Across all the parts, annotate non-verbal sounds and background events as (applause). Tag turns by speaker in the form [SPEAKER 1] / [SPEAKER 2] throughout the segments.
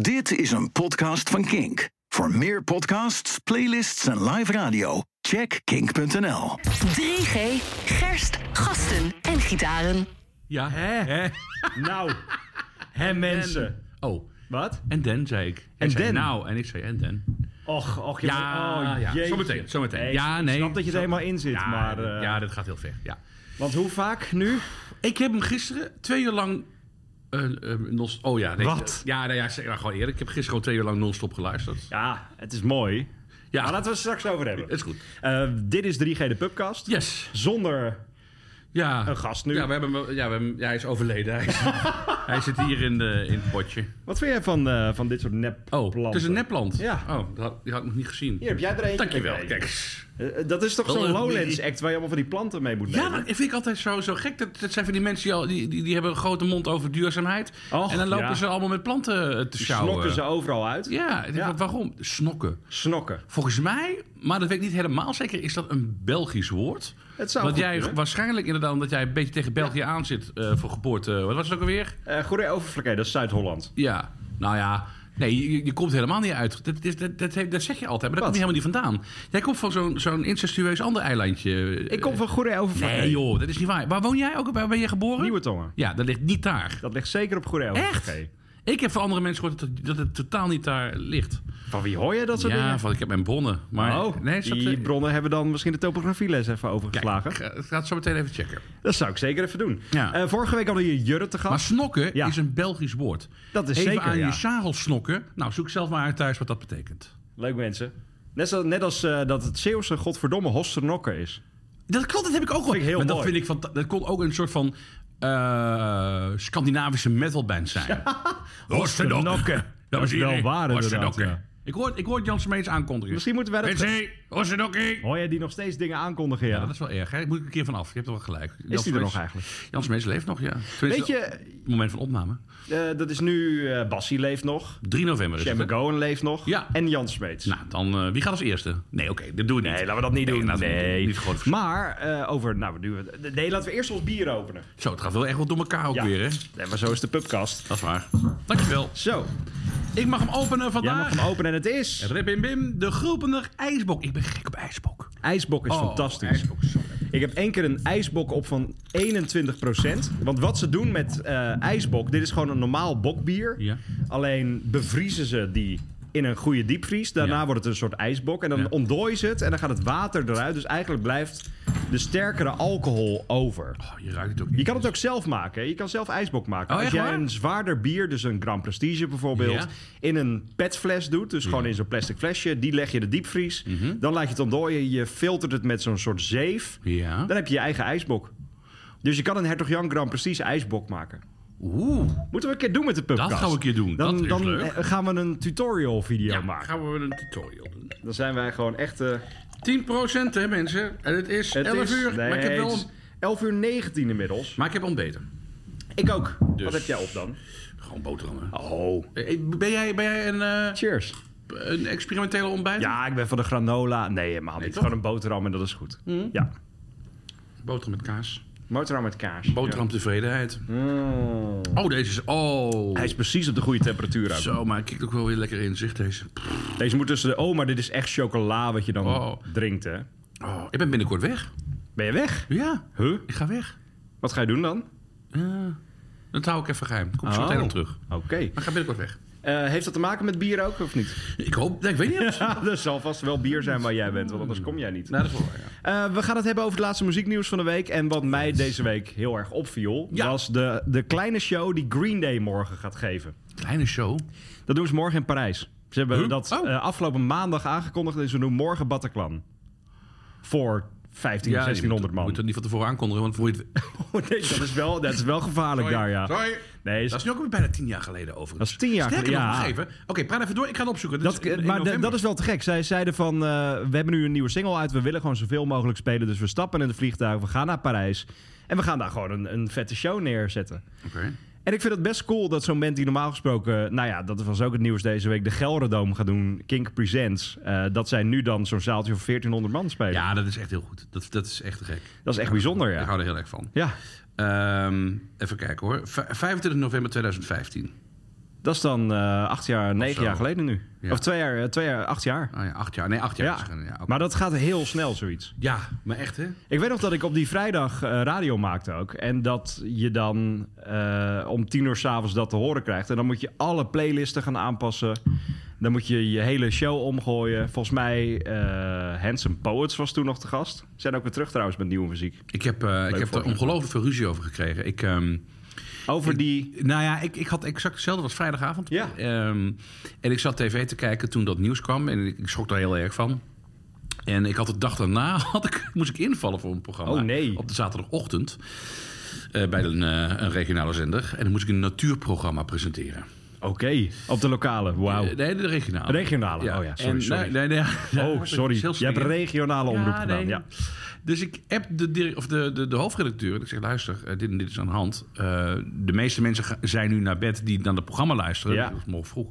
[SPEAKER 1] Dit is een podcast van Kink. Voor meer podcasts, playlists en live radio, check kink.nl.
[SPEAKER 2] 3G, gerst, gasten en gitaren.
[SPEAKER 3] Ja.
[SPEAKER 4] Hè?
[SPEAKER 3] Hè?
[SPEAKER 4] Nou, hè mensen.
[SPEAKER 3] Oh,
[SPEAKER 4] Wat?
[SPEAKER 3] en Dan zei ik. Jij
[SPEAKER 4] En
[SPEAKER 3] zei
[SPEAKER 4] Dan?
[SPEAKER 3] Nou, en ik zei en Dan.
[SPEAKER 4] Och, och. je-
[SPEAKER 3] Ja,
[SPEAKER 4] oh,
[SPEAKER 3] ja.
[SPEAKER 4] jeetje.
[SPEAKER 3] Zometeen, zometeen.
[SPEAKER 4] Nee,
[SPEAKER 3] Ja, nee.
[SPEAKER 4] Ik snap dat je er
[SPEAKER 3] Zo-
[SPEAKER 4] helemaal in zit,
[SPEAKER 3] Ja,
[SPEAKER 4] maar... eh,
[SPEAKER 3] ja, dat gaat heel ver. Ja.
[SPEAKER 4] Want hoe vaak nu?
[SPEAKER 3] Ik heb hem gisteren twee uur lang. eh, eh, non- oh ja, nee.
[SPEAKER 4] Wat?
[SPEAKER 3] Ja, nou ja, zeg maar gewoon eerlijk. Ik heb gisteren gewoon twee uur lang non-stop geluisterd.
[SPEAKER 4] Ja, het is mooi.
[SPEAKER 3] Ja,
[SPEAKER 4] Maar laten we het straks over hebben.
[SPEAKER 3] het is goed.
[SPEAKER 4] Eh, dit is 3G de Pubcast.
[SPEAKER 3] Yes.
[SPEAKER 4] Zonder
[SPEAKER 3] Ja.
[SPEAKER 4] een gast nu.
[SPEAKER 3] Ja, we hebben, hem wel- ja, we hebben, hem- ja, hij is overleden.
[SPEAKER 4] (laughs)
[SPEAKER 3] Hij, is- hij zit hier in, de, in het potje.
[SPEAKER 4] Wat vind jij van, eh, van dit soort nep
[SPEAKER 3] Oh, het is een nepland.
[SPEAKER 4] Ja.
[SPEAKER 3] Oh, dat had, die had ik nog niet gezien.
[SPEAKER 4] Hier, heb jij er eentje?
[SPEAKER 3] Dankjewel.
[SPEAKER 4] mee?
[SPEAKER 3] Kijk.
[SPEAKER 4] Eh, dat is toch
[SPEAKER 3] Wel
[SPEAKER 4] zo'n
[SPEAKER 3] een-
[SPEAKER 4] Lowlands act waar je allemaal van die planten mee moet nemen?
[SPEAKER 3] Oh, Ja, maar dat vind ik altijd zo, zo gek. Dat, dat zijn van die mensen die, al, die, die, die hebben een grote mond over duurzaamheid.
[SPEAKER 4] Och,
[SPEAKER 3] en dan lopen
[SPEAKER 4] ja.
[SPEAKER 3] ze allemaal met planten eh, te sjouwen.
[SPEAKER 4] Snokken ze overal uit.
[SPEAKER 3] Ja, ik denk,
[SPEAKER 4] Ja.
[SPEAKER 3] waarom? Snokken.
[SPEAKER 4] Snokken.
[SPEAKER 3] Volgens mij, maar dat weet ik niet helemaal zeker, is dat een Belgisch woord.
[SPEAKER 4] Het zou
[SPEAKER 3] Want
[SPEAKER 4] goed
[SPEAKER 3] jij
[SPEAKER 4] kunnen.
[SPEAKER 3] waarschijnlijk inderdaad, omdat jij een beetje tegen België aan zit eh, voor geboorte. Wat was het ook alweer?
[SPEAKER 4] Eh goede overvlakkij, dat is Zuid-Holland.
[SPEAKER 3] Ja, nou ja. Nee, je, je komt helemaal niet uit. Dat, is, dat, dat, heeft- dat zeg je altijd, maar dat
[SPEAKER 4] Wat?
[SPEAKER 3] komt niet helemaal niet vandaan. Jij komt van zo'n zo'n incestueus ander eilandje.
[SPEAKER 4] Ik kom van goede overvlakkij.
[SPEAKER 3] Nee joh, dat is niet waar. Waar woon jij ook? Waar ben je geboren?
[SPEAKER 4] Nieuwe tongen.
[SPEAKER 3] Ja, dat ligt niet daar.
[SPEAKER 4] Dat ligt zeker op goede
[SPEAKER 3] Echt?
[SPEAKER 4] overvlakkij.
[SPEAKER 3] Ik heb van andere mensen gehoord dat, dat het totaal niet daar ligt.
[SPEAKER 4] Van wie hoor je dat soort
[SPEAKER 3] ja,
[SPEAKER 4] dingen?
[SPEAKER 3] van ik heb mijn bronnen. Maar
[SPEAKER 4] oh,
[SPEAKER 3] nee,
[SPEAKER 4] die
[SPEAKER 3] zat-
[SPEAKER 4] bronnen hebben dan misschien de topografieles even
[SPEAKER 3] Kijk,
[SPEAKER 4] overgeslagen.
[SPEAKER 3] ik ga- ik ga het zo meteen even checken.
[SPEAKER 4] Dat zou ik zeker even doen.
[SPEAKER 3] Ja.
[SPEAKER 4] Eh, vorige week hadden we hier Jurre te
[SPEAKER 3] Maar
[SPEAKER 4] gast.
[SPEAKER 3] snokken
[SPEAKER 4] Ja.
[SPEAKER 3] is een Belgisch woord.
[SPEAKER 4] Dat is
[SPEAKER 3] even
[SPEAKER 4] zeker,
[SPEAKER 3] aan
[SPEAKER 4] ja.
[SPEAKER 3] je sarel snokken. Nou, zoek zelf maar uit thuis wat dat betekent.
[SPEAKER 4] Leuk mensen. Net, zo, net als eh, dat het Zeeuwse godverdomme Hosternokker is.
[SPEAKER 3] Dat klopt, dat heb ik ook wel.
[SPEAKER 4] Vind ik heel
[SPEAKER 3] maar dat
[SPEAKER 4] mooi.
[SPEAKER 3] vind ik van, dat kon ook een soort van eh, Scandinavische metalband zijn. (laughs) Horstenokken. (laughs) Dames en
[SPEAKER 4] Horstenokken. Dat is wel
[SPEAKER 3] heren,
[SPEAKER 4] waar inderdaad,
[SPEAKER 3] Horstenokken.
[SPEAKER 4] ja.
[SPEAKER 3] Ik hoor, ik hoor Jan Smeets aankondigen.
[SPEAKER 4] Misschien moeten wij dat-
[SPEAKER 3] Mensen, Horstenokken.
[SPEAKER 4] Hoor jij die nog steeds dingen aankondigen? Ja.
[SPEAKER 3] Ja, Nou, dat is wel erg. Hè? Moet ik een keer vanaf. Je hebt er wel gelijk. Jan
[SPEAKER 4] die er
[SPEAKER 3] Smeets-
[SPEAKER 4] nog eigenlijk?
[SPEAKER 3] Jan Smeets leeft nog, ja.
[SPEAKER 4] Weet je,
[SPEAKER 3] Het moment van opname.
[SPEAKER 4] eh, dat is nu... eh Bassie leeft nog.
[SPEAKER 3] 3 november is het,
[SPEAKER 4] Jamie
[SPEAKER 3] hè?
[SPEAKER 4] Gowen leeft nog.
[SPEAKER 3] Ja.
[SPEAKER 4] En Jan Smeets.
[SPEAKER 3] Nou, dan eh, wie gaat als eerste? Nee, oké, dat doen we niet.
[SPEAKER 4] Nee, laten we dat niet doen.
[SPEAKER 3] laten we niet
[SPEAKER 4] Nee.
[SPEAKER 3] Niet groot verschil.
[SPEAKER 4] maar eh, over... Nou, nu, nee, laten we eerst ons bier openen.
[SPEAKER 3] Zo, het gaat wel echt wel door elkaar ook
[SPEAKER 4] Ja.
[SPEAKER 3] weer, hè?
[SPEAKER 4] Nee, maar zo is de pubcast.
[SPEAKER 3] Dat is waar. Dankjewel.
[SPEAKER 4] Zo,
[SPEAKER 3] Ik mag hem openen
[SPEAKER 4] jij
[SPEAKER 3] vandaag.
[SPEAKER 4] mag hem openen en het is...
[SPEAKER 3] Rip in Bim, de groepender ijsbok. Ik ben gek op ijsbok. Oh,
[SPEAKER 4] IJsbok is fantastisch.
[SPEAKER 3] Ijsbok, sorry.
[SPEAKER 4] Ik heb één keer een ijsbok op van 21%. Want wat ze doen met eh, ijsbok, dit is gewoon een normaal bokbier.
[SPEAKER 3] Ja.
[SPEAKER 4] Alleen bevriezen ze die in een goede diepvries. Daarna
[SPEAKER 3] Ja.
[SPEAKER 4] wordt het een soort ijsbok. En dan
[SPEAKER 3] Ja.
[SPEAKER 4] ontdooien ze het en dan gaat het water eruit. Dus eigenlijk blijft de sterkere alcohol over.
[SPEAKER 3] Oh, je ruikt het ook
[SPEAKER 4] Je
[SPEAKER 3] niet.
[SPEAKER 4] kan het ook zelf maken. hè. Je kan zelf ijsbok maken.
[SPEAKER 3] Oh,
[SPEAKER 4] Als
[SPEAKER 3] echt
[SPEAKER 4] jij
[SPEAKER 3] waar?
[SPEAKER 4] een zwaarder bier, dus een Grand Prestige bijvoorbeeld,
[SPEAKER 3] Ja.
[SPEAKER 4] in een petfles doet, dus gewoon in zo'n plastic flesje, die leg je de diepvries.
[SPEAKER 3] Mhm.
[SPEAKER 4] Dan laat je het ontdooien, je filtert het met zo'n soort zeef.
[SPEAKER 3] Ja.
[SPEAKER 4] Dan heb je je eigen ijsbok. Dus je kan een Hertog Jan Grand Prestige ijsbok maken.
[SPEAKER 3] Oeh.
[SPEAKER 4] Moeten we een keer doen met de pubcast.
[SPEAKER 3] Dat gaan we een keer doen.
[SPEAKER 4] Dan,
[SPEAKER 3] Dat is
[SPEAKER 4] dan
[SPEAKER 3] leuk.
[SPEAKER 4] eh, gaan we een tutorial video
[SPEAKER 3] Ja, maar
[SPEAKER 4] maken.
[SPEAKER 3] gaan we een tutorial doen.
[SPEAKER 4] Dan zijn wij gewoon echt... eh,
[SPEAKER 3] 10% hè mensen. En het is
[SPEAKER 4] het
[SPEAKER 3] 11
[SPEAKER 4] is-
[SPEAKER 3] uur.
[SPEAKER 4] nee,
[SPEAKER 3] maar ik heb wel...
[SPEAKER 4] het is 11 uur 19 inmiddels.
[SPEAKER 3] Maar ik heb ontbeten.
[SPEAKER 4] Ik ook. Wat
[SPEAKER 3] Dus-
[SPEAKER 4] heb jij op dan?
[SPEAKER 3] Gewoon boterhammen.
[SPEAKER 4] Oh.
[SPEAKER 3] Eh, eh, Ben jij, ben jij een, eh,
[SPEAKER 4] Cheers.
[SPEAKER 3] een experimentele ontbijt?
[SPEAKER 4] Ja, ik ben van de granola. Nee, helemaal niet.
[SPEAKER 3] toch?
[SPEAKER 4] Gewoon een boterham en dat is goed. Ja.
[SPEAKER 3] Boterham met kaas.
[SPEAKER 4] Boterham met kaas.
[SPEAKER 3] Boterham tevredenheid.
[SPEAKER 4] Mm.
[SPEAKER 3] Oh, deze is... Oh.
[SPEAKER 4] Hij is precies op de goede temperatuur uit.
[SPEAKER 3] Zo, maar hij kikt ook wel weer lekker in zich, deze.
[SPEAKER 4] Deze moet tussen de... Oh, maar dit is echt chocola wat je dan
[SPEAKER 3] Oh.
[SPEAKER 4] drinkt, hè?
[SPEAKER 3] Oh, ik ben binnenkort weg.
[SPEAKER 4] Ben je weg?
[SPEAKER 3] Ja,
[SPEAKER 4] Huh?
[SPEAKER 3] ik ga weg.
[SPEAKER 4] Wat ga je doen dan?
[SPEAKER 3] Ja. Dat hou ik even geheim. Kom ik zo
[SPEAKER 4] Oh.
[SPEAKER 3] meteen op terug.
[SPEAKER 4] Oké.
[SPEAKER 3] Maar ik ga binnenkort weg.
[SPEAKER 4] Eh, heeft dat te maken met bier ook, of niet?
[SPEAKER 3] Ik hoop... Nee, ik weet
[SPEAKER 4] (laughs)
[SPEAKER 3] niet. of-
[SPEAKER 4] er zal vast wel bier zijn waar jij bent, want anders kom jij niet.
[SPEAKER 3] nou, dat is wel waar, ja.
[SPEAKER 4] Eh, we gaan het hebben over het laatste muzieknieuws van de week. En wat mij deze week heel erg opviel,
[SPEAKER 3] Ja.
[SPEAKER 4] was de, de kleine show die Green Day morgen gaat geven.
[SPEAKER 3] Kleine show.
[SPEAKER 4] Dat doen ze morgen in Parijs. Ze hebben
[SPEAKER 3] Huh?
[SPEAKER 4] dat
[SPEAKER 3] Oh.
[SPEAKER 4] eh, afgelopen maandag aangekondigd. En ze doen morgen Bataclan. Voor 15,
[SPEAKER 3] Ja,
[SPEAKER 4] 1600 man.
[SPEAKER 3] Moet dat niet van tevoren aankondigen, want voor je het...
[SPEAKER 4] (laughs) Nee, dat, is wel, dat is wel gevaarlijk daar, ja.
[SPEAKER 3] Sorry.
[SPEAKER 4] Nee, is-
[SPEAKER 3] Dat is nu ook weer bijna tien jaar geleden, overigens.
[SPEAKER 4] Dat is tien jaar
[SPEAKER 3] Sterker
[SPEAKER 4] geleden,
[SPEAKER 3] nog,
[SPEAKER 4] ja.
[SPEAKER 3] nog even. Oké, praat even door. Ik ga het opzoeken. Dit
[SPEAKER 4] dat,
[SPEAKER 3] is in- in
[SPEAKER 4] maar de-
[SPEAKER 3] november.
[SPEAKER 4] dat is wel te gek. Zij zeiden van, eh, we hebben nu een nieuwe single uit. We willen gewoon zoveel mogelijk spelen. Dus we stappen in het vliegtuig, we gaan naar Parijs. En we gaan daar gewoon een, een vette show neerzetten.
[SPEAKER 3] Oké.
[SPEAKER 4] En ik vind het best cool dat zo'n band die normaal gesproken... Nou ja, dat was ook het nieuws deze week. De Gelredome gaat doen, Kink Presents. eh, dat zij nu dan zo'n zaaltje van 1400 man spelen.
[SPEAKER 3] Ja, dat is echt heel goed. Dat, dat is echt te gek.
[SPEAKER 4] Dat is echt bijzonder,
[SPEAKER 3] Ik
[SPEAKER 4] ja.
[SPEAKER 3] hou er heel erg van.
[SPEAKER 4] Ja,
[SPEAKER 3] Ehm, even kijken hoor. V- 25 november 2015.
[SPEAKER 4] Dat is dan eh, acht jaar, negen
[SPEAKER 3] zo.
[SPEAKER 4] jaar geleden nu.
[SPEAKER 3] Ja.
[SPEAKER 4] Of twee jaar, eh, twee jaar, acht jaar.
[SPEAKER 3] Oh ja, acht jaar. Nee, acht jaar.
[SPEAKER 4] Ja,
[SPEAKER 3] verschillen, Ja, oké.
[SPEAKER 4] maar dat gaat heel snel zoiets.
[SPEAKER 3] ja, maar echt hè?
[SPEAKER 4] Ik weet nog dat ik op die vrijdag eh, radio maakte ook. En dat je dan eh, om tien uur s'avonds dat te horen krijgt. En dan moet je alle playlisten gaan aanpassen. Dan moet je je hele show omgooien. Volgens mij eh Handsome Poets was toen nog te gast. Zijn ook weer terug trouwens met nieuwe muziek.
[SPEAKER 3] Ik heb, eh, ik heb er
[SPEAKER 4] voorbeeld.
[SPEAKER 3] ongelooflijk veel ruzie over gekregen. Ik, ehm,
[SPEAKER 4] Over die...
[SPEAKER 3] nou ja, ik, ik had exact hetzelfde als vrijdagavond.
[SPEAKER 4] Ja.
[SPEAKER 3] Ehm, en ik zat tv te kijken toen dat nieuws kwam. En ik, ik schrok daar heel erg van. En ik had de dag daarna (laughs) had ik, moest ik invallen voor een programma.
[SPEAKER 4] Oh, nee.
[SPEAKER 3] Op de zaterdagochtend. eh, bij een, eh, een regionale zender. En dan moest ik een natuurprogramma presenteren.
[SPEAKER 4] Oké, op de lokale. Wauw.
[SPEAKER 3] Eh, nee, de regionale.
[SPEAKER 4] Regionale. Oh ja, sorry,
[SPEAKER 3] En-
[SPEAKER 4] sorry.
[SPEAKER 3] Nee, nee, (laughs) nee.
[SPEAKER 4] Oh, sorry.
[SPEAKER 3] Heel
[SPEAKER 4] Je hebt
[SPEAKER 3] slingerend.
[SPEAKER 4] regionale omroep gedaan.
[SPEAKER 3] nee.
[SPEAKER 4] Ja.
[SPEAKER 3] Dus ik app de, dir- of de, de, de hoofdredacteur en ik zeg, luister, eh, dit en dit is aan de hand. Eh, de meeste mensen ga- zijn nu naar bed die naar het programma luisteren.
[SPEAKER 4] Ja.
[SPEAKER 3] Dat is morgen vroeg.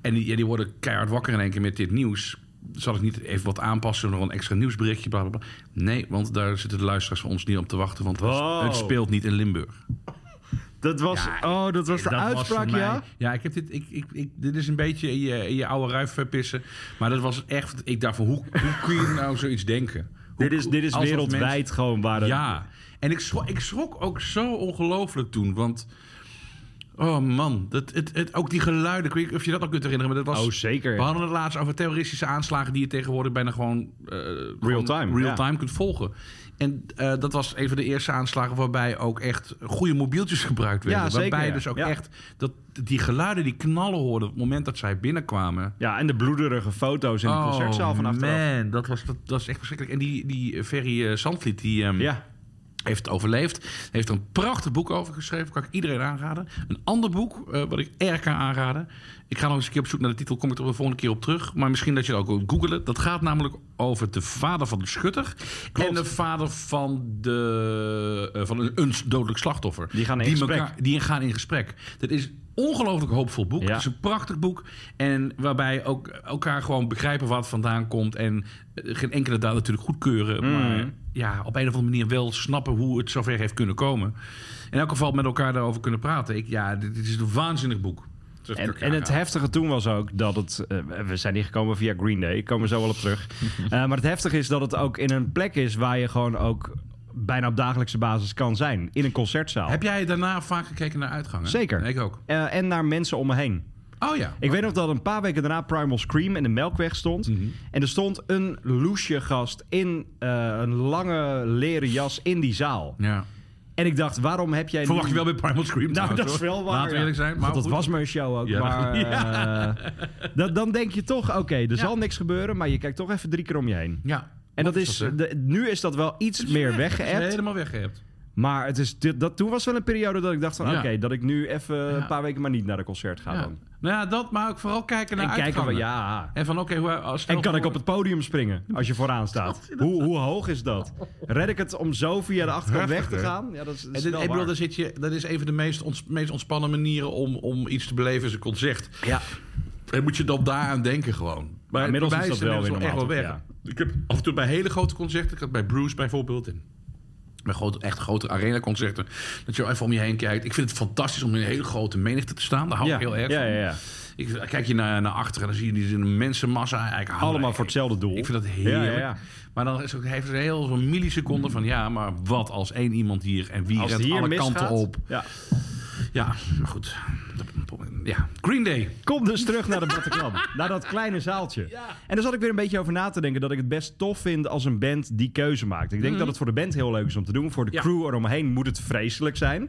[SPEAKER 3] En die, ja, die worden keihard wakker in één keer met dit nieuws. Zal ik niet even wat aanpassen, nog een extra nieuwsberichtje, bla, bla, bla. Nee, want daar zitten de luisteraars van ons niet op te wachten, want
[SPEAKER 4] Wow.
[SPEAKER 3] het speelt niet in Limburg.
[SPEAKER 4] Dat was...
[SPEAKER 3] Ja,
[SPEAKER 4] oh, dat was de
[SPEAKER 3] Dat was
[SPEAKER 4] uitspraak,
[SPEAKER 3] voor mij-
[SPEAKER 4] ja?
[SPEAKER 3] Ja, ik heb dit, ik, ik, ik, dit is een beetje in je, in je oude ruif verpissen. Maar dat was echt, ik dacht van, hoe, hoe kun je nou zoiets denken? Hoe-
[SPEAKER 4] Dit is, dit is
[SPEAKER 3] alsof
[SPEAKER 4] wereldwijd
[SPEAKER 3] mensen-
[SPEAKER 4] gewoon waar het...
[SPEAKER 3] Ja, en ik schrok, ik schrok ook zo ongelooflijk toen, want... Oh man, dat, het, het, ook die geluiden, ik weet niet of je dat nog kunt herinneren, maar dat was...
[SPEAKER 4] Oh, zeker.
[SPEAKER 3] We hadden het laatst over terroristische aanslagen die je tegenwoordig bijna gewoon... eh, gewoon
[SPEAKER 4] time,
[SPEAKER 3] real
[SPEAKER 4] ja.
[SPEAKER 3] time kunt volgen. En eh, dat was een van de eerste aanslagen waarbij ook echt goede mobieltjes (laughs) gebruikt werden.
[SPEAKER 4] Ja, zeker,
[SPEAKER 3] waarbij
[SPEAKER 4] ja.
[SPEAKER 3] dus ook
[SPEAKER 4] Ja.
[SPEAKER 3] echt dat, die geluiden, die knallen hoorden op het moment dat zij binnenkwamen.
[SPEAKER 4] Ja, en de bloederige foto's in de concertzaal van achteraf.
[SPEAKER 3] Oh, man, dat was, dat, dat is echt verschrikkelijk. En die, die Ferry eh, Zandvliet, die... ehm,
[SPEAKER 4] Ja,
[SPEAKER 3] heeft het overleefd. Heeft er een prachtig boek over geschreven. Kan ik iedereen aanraden. Een ander boek eh, wat ik erg kan aanraden. Ik ga nog eens een keer op zoek naar de titel. Kom ik er de volgende keer op terug. Maar misschien dat je het ook wilt googelen. Dat gaat namelijk over de vader van de schutter. En de vader van, de, eh, van een, een dodelijk slachtoffer.
[SPEAKER 4] Die gaan in gesprek.
[SPEAKER 3] elkaar- die gaan in gesprek. Dat is een ongelooflijk hoopvol boek.
[SPEAKER 4] Ja.
[SPEAKER 3] Het is een prachtig boek. En waarbij ook elkaar gewoon begrijpen wat vandaan komt. En eh, geen enkele daad natuurlijk goedkeuren.
[SPEAKER 4] Mm.
[SPEAKER 3] Maar ja, op een of andere manier wel snappen hoe het zover heeft kunnen komen. In elk geval met elkaar daarover kunnen praten. Ik, ja, dit, dit is een waanzinnig boek. Dat is
[SPEAKER 4] En,
[SPEAKER 3] ook
[SPEAKER 4] en het
[SPEAKER 3] aanraden.
[SPEAKER 4] heftige toen was ook dat het. eh, we zijn hier gekomen via Green Day, ik kom er zo wel op
[SPEAKER 3] (laughs)
[SPEAKER 4] terug. Eh, maar het heftige is dat het ook in een plek is waar je gewoon ook bijna op dagelijkse basis kan zijn. In een concertzaal.
[SPEAKER 3] Heb jij daarna vaak gekeken naar uitgangen?
[SPEAKER 4] Zeker.
[SPEAKER 3] Ik ook.
[SPEAKER 4] Eh, en naar mensen om me heen.
[SPEAKER 3] Oh ja.
[SPEAKER 4] Ik weet nog dat een paar weken daarna Primal Scream in de Melkweg stond.
[SPEAKER 3] Mhm.
[SPEAKER 4] En er stond een loesje gast in eh, een lange leren jas in die zaal.
[SPEAKER 3] ja.
[SPEAKER 4] En ik dacht, waarom heb jij.
[SPEAKER 3] Verwacht
[SPEAKER 4] nu-
[SPEAKER 3] je wel bij Primal Scream
[SPEAKER 4] Nou,
[SPEAKER 3] trouwens,
[SPEAKER 4] dat is
[SPEAKER 3] hoor.
[SPEAKER 4] wel waar.
[SPEAKER 3] Laten we
[SPEAKER 4] ja.
[SPEAKER 3] eerlijk zijn. Maar
[SPEAKER 4] Want dat
[SPEAKER 3] goed.
[SPEAKER 4] was mijn show ook.
[SPEAKER 3] Ja. (laughs)
[SPEAKER 4] Maar eh, dat, dan denk je toch, oké, er zal niks gebeuren, maar je kijkt toch even drie keer om je heen.
[SPEAKER 3] Ja.
[SPEAKER 4] En dat
[SPEAKER 3] Wat
[SPEAKER 4] is,
[SPEAKER 3] hè?
[SPEAKER 4] de- nu is dat wel iets meer
[SPEAKER 3] Dat is
[SPEAKER 4] weggeëpt.
[SPEAKER 3] Helemaal weggeëpt.
[SPEAKER 4] Maar het is, dit, dat, toen was wel een periode dat ik dacht van,
[SPEAKER 3] Ja.
[SPEAKER 4] oké, dat ik nu even een paar weken maar niet naar een concert ga
[SPEAKER 3] Ja.
[SPEAKER 4] dan.
[SPEAKER 3] Nou ja, dat, maar ook vooral kijken naar
[SPEAKER 4] En kijken we,
[SPEAKER 3] uitgangen.
[SPEAKER 4] ja.
[SPEAKER 3] En van oké, hoe als
[SPEAKER 4] En kan ik op het podium springen als je vooraan staat? Hoe, hoe hoog is dat? Red ik het om zo via de achterkant weg te gaan? Ja, dat is, dat is
[SPEAKER 3] En dit,
[SPEAKER 4] wel
[SPEAKER 3] ik bedoel,
[SPEAKER 4] waar.
[SPEAKER 3] daar zit je, dat is een van de meest, ons, meest ontspannen manieren om, om iets te beleven als een concert.
[SPEAKER 4] Ja.
[SPEAKER 3] En moet je dan daaraan denken gewoon. Maar
[SPEAKER 4] inmiddels
[SPEAKER 3] bij mij
[SPEAKER 4] is dat
[SPEAKER 3] het
[SPEAKER 4] wel
[SPEAKER 3] inmiddels
[SPEAKER 4] weer
[SPEAKER 3] echt wel weg.
[SPEAKER 4] normaal,
[SPEAKER 3] Ik heb af en toe bij hele grote concerten, ik had bij Bruce bijvoorbeeld in. Bij grote, echt grote arena-concerten. Dat je even om je heen kijkt. Ik vind het fantastisch om in een hele grote menigte te staan. Daar hou
[SPEAKER 4] ja.
[SPEAKER 3] ik heel erg
[SPEAKER 4] ja,
[SPEAKER 3] van.
[SPEAKER 4] ja, ja.
[SPEAKER 3] Ik, kijk je naar, naar achteren en dan zie je die mensenmassa. Eigenlijk hou
[SPEAKER 4] Allemaal
[SPEAKER 3] ik-
[SPEAKER 4] voor hetzelfde doel.
[SPEAKER 3] Ik vind dat heerlijk.
[SPEAKER 4] Ja, ja, ja.
[SPEAKER 3] Maar dan is ook, heeft er heel veel milliseconden van... ja, maar wat als één iemand hier en wie
[SPEAKER 4] Als het
[SPEAKER 3] rent
[SPEAKER 4] hier
[SPEAKER 3] alle
[SPEAKER 4] misgaat,
[SPEAKER 3] kanten op?
[SPEAKER 4] Ja.
[SPEAKER 3] Ja, maar goed. Ja, Green Day.
[SPEAKER 4] Kom dus terug naar de Bataclan. (laughs) naar dat kleine zaaltje. En daar zat ik weer een beetje over na te denken dat ik het best tof vind als een band die keuze maakt. Ik denk dat het voor de band heel leuk is om te doen. Voor de
[SPEAKER 3] Mhm. Ja.
[SPEAKER 4] crew eromheen moet het vreselijk zijn.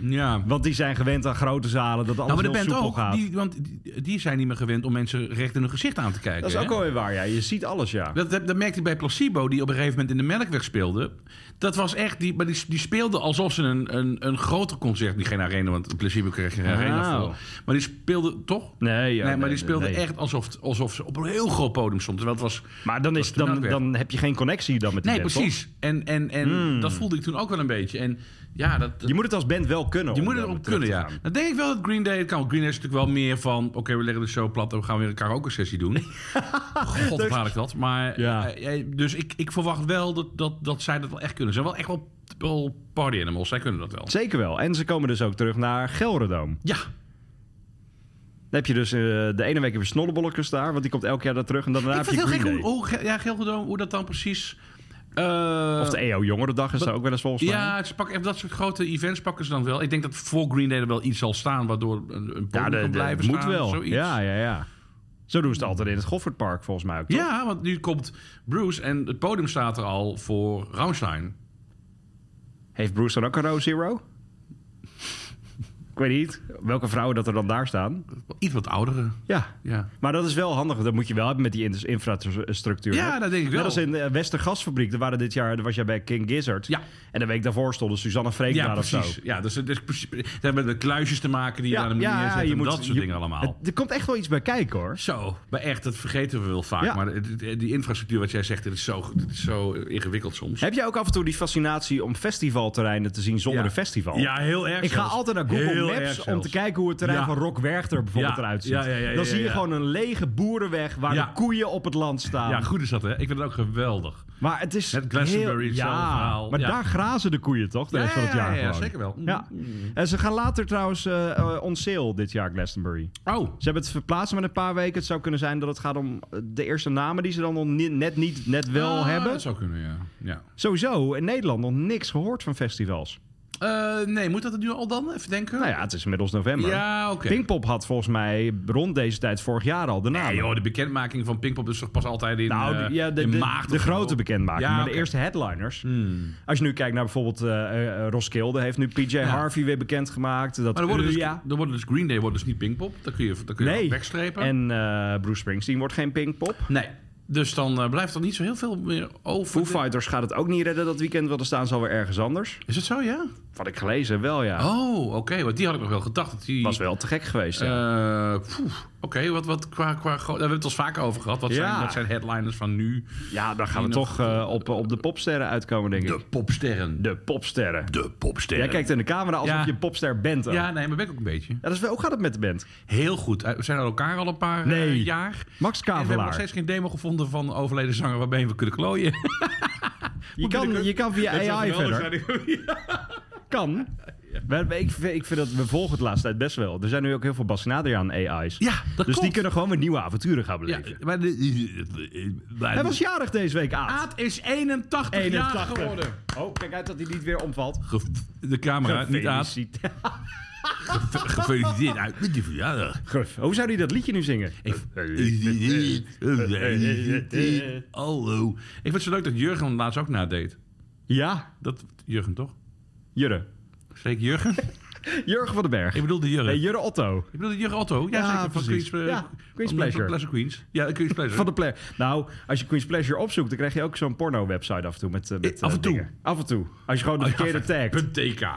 [SPEAKER 3] Ja. Nou,
[SPEAKER 4] Want die zijn gewend aan grote zalen, dat alles
[SPEAKER 3] maar de
[SPEAKER 4] heel
[SPEAKER 3] band
[SPEAKER 4] soepel
[SPEAKER 3] ook.
[SPEAKER 4] gaat.
[SPEAKER 3] Die, want die, die zijn niet meer gewend om mensen recht in hun gezicht aan te kijken.
[SPEAKER 4] Dat is ook
[SPEAKER 3] hè?
[SPEAKER 4] alweer waar, ja. Je ziet alles, ja.
[SPEAKER 3] Dat, dat, dat merkte ik bij Placebo, die op een gegeven moment in de Melkweg speelde. Dat was echt, die, maar die, die speelde alsof ze een, een, een groter concert, niet geen arena, want Placebo kreeg geen arena
[SPEAKER 4] Oh.
[SPEAKER 3] voor. Maar die speelde, toch?
[SPEAKER 4] Nee,
[SPEAKER 3] nee,
[SPEAKER 4] ja,
[SPEAKER 3] maar
[SPEAKER 4] nee,
[SPEAKER 3] die speelde
[SPEAKER 4] nee.
[SPEAKER 3] echt alsof, alsof ze op een heel groot podium stond. Terwijl het was...
[SPEAKER 4] Maar dan, is,
[SPEAKER 3] Dat is de
[SPEAKER 4] dan, dan heb je geen connectie dan met die
[SPEAKER 3] Nee,
[SPEAKER 4] band,
[SPEAKER 3] precies. En, en, en dat voelde ik toen ook wel een beetje. En ja, dat,
[SPEAKER 4] toch? Je moet het als band wel kunnen.
[SPEAKER 3] Je
[SPEAKER 4] om
[SPEAKER 3] moet
[SPEAKER 4] dan
[SPEAKER 3] erop
[SPEAKER 4] terug
[SPEAKER 3] kunnen,
[SPEAKER 4] te
[SPEAKER 3] ja.
[SPEAKER 4] gaan.
[SPEAKER 3] Dan denk ik wel dat Green Day het kan. Want Green Day is natuurlijk wel meer van... Oké, we leggen de show plat en we gaan weer een karaoke-sessie (laughs) doen. God, wat haal ik dat. Maar,
[SPEAKER 4] Ja.
[SPEAKER 3] eh, eh, dus ik, ik verwacht wel dat, dat, dat zij dat wel echt kunnen. Ze zijn wel echt wel, wel party animals. Zij kunnen dat wel.
[SPEAKER 4] Zeker wel. En ze komen dus ook terug naar Gelredome.
[SPEAKER 3] Ja.
[SPEAKER 4] heb je dus eh, de ene week heb je Snollebollekes daar, want die komt elk jaar daar terug. En dan daarna
[SPEAKER 3] ik
[SPEAKER 4] heb
[SPEAKER 3] vind
[SPEAKER 4] je
[SPEAKER 3] het heel
[SPEAKER 4] Green
[SPEAKER 3] gek hoe,
[SPEAKER 4] Day.
[SPEAKER 3] hoe, ge- ja, heel goed hoe, dat dan precies... eh,
[SPEAKER 4] Of de E EO Jongerendag is daar ook wel eens volgens mij.
[SPEAKER 3] ja, ze pakken even dat soort grote events pakken ze dan wel. Ik denk dat voor Green Day er wel iets zal staan... waardoor een, een podium
[SPEAKER 4] Ja,
[SPEAKER 3] kan
[SPEAKER 4] dat
[SPEAKER 3] blijven
[SPEAKER 4] moet
[SPEAKER 3] staan.
[SPEAKER 4] wel.
[SPEAKER 3] Zoiets.
[SPEAKER 4] Ja, ja, ja. Zo doen ze het altijd in het Goffertpark volgens mij ook. toch?
[SPEAKER 3] Ja, want nu komt Bruce en het podium staat er al voor Rammstein.
[SPEAKER 4] Heeft Bruce dan ook een row zero? ik weet niet welke vrouwen dat er dan daar staan.
[SPEAKER 3] Iets wat oudere.
[SPEAKER 4] Ja.
[SPEAKER 3] Ja.
[SPEAKER 4] Maar dat is wel handig. Dat moet je wel hebben met die in- infrastructuur.
[SPEAKER 3] Ja,
[SPEAKER 4] hè?
[SPEAKER 3] dat denk ik wel.
[SPEAKER 4] Net als in de Westergasfabriek. Daar waren dit jaar, daar was jij bij King Gizzard.
[SPEAKER 3] Ja.
[SPEAKER 4] En de week daarvoor stonden Suzanne Freek
[SPEAKER 3] Ja,
[SPEAKER 4] daar of
[SPEAKER 3] precies.
[SPEAKER 4] zo.
[SPEAKER 3] Ja, dus, het is precies- dat hebben met kluisjes te maken die je aan de manier zet en dat soort
[SPEAKER 4] je-
[SPEAKER 3] dingen allemaal.
[SPEAKER 4] het- er komt echt wel iets bij kijken hoor.
[SPEAKER 3] zo, maar echt, dat vergeten we wel vaak.
[SPEAKER 4] Ja.
[SPEAKER 3] Maar het- het- die infrastructuur wat jij zegt, dat is zo, dat is zo ingewikkeld soms.
[SPEAKER 4] Heb jij ook af en toe die fascinatie om festivalterreinen te zien zonder
[SPEAKER 3] Ja.
[SPEAKER 4] een festival?
[SPEAKER 3] Ja, heel erg
[SPEAKER 4] Ik ga
[SPEAKER 3] zelfs.
[SPEAKER 4] altijd naar Google
[SPEAKER 3] Heel erg
[SPEAKER 4] Maps om
[SPEAKER 3] zelfs.
[SPEAKER 4] te kijken hoe het terrein
[SPEAKER 3] Ja.
[SPEAKER 4] van Rock Werchter bijvoorbeeld
[SPEAKER 3] Ja.
[SPEAKER 4] eruit ziet.
[SPEAKER 3] Ja, ja, ja, ja,
[SPEAKER 4] Dan zie je
[SPEAKER 3] ja.
[SPEAKER 4] gewoon een lege boerenweg waar
[SPEAKER 3] Ja.
[SPEAKER 4] de koeien op het land staan.
[SPEAKER 3] Ja, goed is dat, hè? Ik vind het ook geweldig.
[SPEAKER 4] Maar het is
[SPEAKER 3] Het Glastonbury,
[SPEAKER 4] heel-
[SPEAKER 3] hetzelfde verhaal.
[SPEAKER 4] Maar
[SPEAKER 3] Ja.
[SPEAKER 4] daar grazen de koeien toch de
[SPEAKER 3] Ja,
[SPEAKER 4] rest van het
[SPEAKER 3] ja,
[SPEAKER 4] jaar
[SPEAKER 3] ja, ja,
[SPEAKER 4] gewoon.
[SPEAKER 3] zeker wel. Mm.
[SPEAKER 4] Ja. En ze gaan later trouwens eh eh, on sale dit jaar Glastonbury.
[SPEAKER 3] Oh,
[SPEAKER 4] Ze hebben het verplaatst met een paar weken. Het zou kunnen zijn dat het gaat om eh, de eerste namen die ze dan nog ni- net niet, net wel
[SPEAKER 3] ah,
[SPEAKER 4] hebben.
[SPEAKER 3] Dat zou kunnen, ja. ja.
[SPEAKER 4] Sowieso in Nederland nog niks gehoord van festivals.
[SPEAKER 3] Eh, nee, moet dat nu al dan? Even denken.
[SPEAKER 4] Nou ja, het is inmiddels november.
[SPEAKER 3] Ja, oké.
[SPEAKER 4] Pinkpop had volgens mij rond deze tijd vorig jaar al de naam.
[SPEAKER 3] Nee, joh, de bekendmaking van Pinkpop is toch pas altijd in,
[SPEAKER 4] nou,
[SPEAKER 3] eh,
[SPEAKER 4] de, ja, de,
[SPEAKER 3] in
[SPEAKER 4] de,
[SPEAKER 3] maart
[SPEAKER 4] de
[SPEAKER 3] of zo?
[SPEAKER 4] grote bekendmaking.
[SPEAKER 3] Ja,
[SPEAKER 4] maar de
[SPEAKER 3] oké. Mm. Hmm.
[SPEAKER 4] eerste headliners. Als je nu kijkt naar bijvoorbeeld eh, eh, eh, Roskilde, heeft nu PJ Harvey weer bekendgemaakt. Dat
[SPEAKER 3] Maar dan worden, dus,
[SPEAKER 4] Uria-
[SPEAKER 3] dan worden dus Green Day wordt dus niet Pinkpop. Dan kun je, dan kun je
[SPEAKER 4] Eh, nee.
[SPEAKER 3] wegstrepen.
[SPEAKER 4] En eh, Bruce Springsteen wordt geen Pinkpop.
[SPEAKER 3] Nee. Dus dan eh, blijft er niet zo heel veel meer over.
[SPEAKER 4] Foo Fighters gaat het ook niet redden dat weekend, want dan staan ze alweer ergens anders.
[SPEAKER 3] Is het zo, ja?
[SPEAKER 4] Wat ik gelezen heb, wel, ja.
[SPEAKER 3] Oh, oké. Want die had ik nog wel gedacht. Dat die,
[SPEAKER 4] Was wel te gek geweest. ja.
[SPEAKER 3] Eh, poeh, oké, wat, wat qua, qua... gro- Daar hebben we het al eens vaker over gehad. Wat,
[SPEAKER 4] Ja.
[SPEAKER 3] zijn, wat zijn headliners van nu?
[SPEAKER 4] ja, dan gaan we
[SPEAKER 3] die nog-
[SPEAKER 4] toch eh, op, op de popsterren uitkomen, denk ik.
[SPEAKER 3] De popsterren.
[SPEAKER 4] De popsterren.
[SPEAKER 3] De popsterren.
[SPEAKER 4] Jij kijkt in de camera alsof
[SPEAKER 3] Ja.
[SPEAKER 4] je een popster bent. ook.
[SPEAKER 3] Ja, nee, maar ben ik ook een beetje.
[SPEAKER 4] Ja, dat is wel, hoe gaat het met de band?
[SPEAKER 3] Heel goed. Eh, We zijn aan elkaar al een paar
[SPEAKER 4] Nee.
[SPEAKER 3] eh, jaar.
[SPEAKER 4] Max
[SPEAKER 3] En we hebben nog
[SPEAKER 4] Kavelaar.
[SPEAKER 3] steeds geen demo gevonden van een overleden zanger waarmee we kunnen klooien.
[SPEAKER 4] Je kan, je kan
[SPEAKER 3] Dat
[SPEAKER 4] via
[SPEAKER 3] zou
[SPEAKER 4] AI
[SPEAKER 3] geweldig
[SPEAKER 4] verder.
[SPEAKER 3] zijn. (laughs)
[SPEAKER 4] Kan. We hebben- ik, vind- ik vind dat we volgen het laatste tijd best wel. Er zijn nu ook heel veel Bassinadria aan AI's.
[SPEAKER 3] (laughs) Ja, dat
[SPEAKER 4] dus die
[SPEAKER 3] klopt.
[SPEAKER 4] kunnen gewoon weer nieuwe avonturen gaan
[SPEAKER 3] Ja,
[SPEAKER 4] beleven.
[SPEAKER 3] maar de, maar
[SPEAKER 4] Hij was jarig deze week, Aad.
[SPEAKER 3] Aad is 81, jaar
[SPEAKER 4] 81.
[SPEAKER 3] geworden.
[SPEAKER 4] Oh, kijk uit dat hij niet weer omvalt.
[SPEAKER 3] Ge- De camera, niet Aad.
[SPEAKER 4] Gefeliciteerd.
[SPEAKER 3] Gefeliciteerd uit met die verjaardag. (laughs)
[SPEAKER 4] Guf, Hoe zou hij dat liedje nu zingen?
[SPEAKER 3] Hallo. Ik vind het zo leuk dat Jurgen laatst ook nadeed.
[SPEAKER 4] Ja,
[SPEAKER 3] Dat, Jurgen toch?
[SPEAKER 4] Jurre.
[SPEAKER 3] Zeker Jurgen?
[SPEAKER 4] Jurgen van den Berg.
[SPEAKER 3] Ik bedoel de Jurgen.
[SPEAKER 4] Nee,
[SPEAKER 3] Ik
[SPEAKER 4] Jurre Otto.
[SPEAKER 3] bedoel de Jurgen Otto. Ja,
[SPEAKER 4] Ja,
[SPEAKER 3] zeker. Van
[SPEAKER 4] precies.
[SPEAKER 3] Queen's, eh,
[SPEAKER 4] Ja, Queen's
[SPEAKER 3] van-
[SPEAKER 4] Pleasure.
[SPEAKER 3] van Pleasure Queens. Ja,
[SPEAKER 4] (laughs)
[SPEAKER 3] Queen's Pleasure.
[SPEAKER 4] Van de player. Nou, als je Queen's Pleasure opzoekt, dan krijg je ook zo'n porno-website af en toe. Met, eh, met,
[SPEAKER 3] Eh, af
[SPEAKER 4] eh,
[SPEAKER 3] en toe?
[SPEAKER 4] dingen. Af en toe. Als je gewoon de
[SPEAKER 3] Oh, ja,
[SPEAKER 4] verkeerde tagt.
[SPEAKER 3] Punt TK.
[SPEAKER 4] (laughs)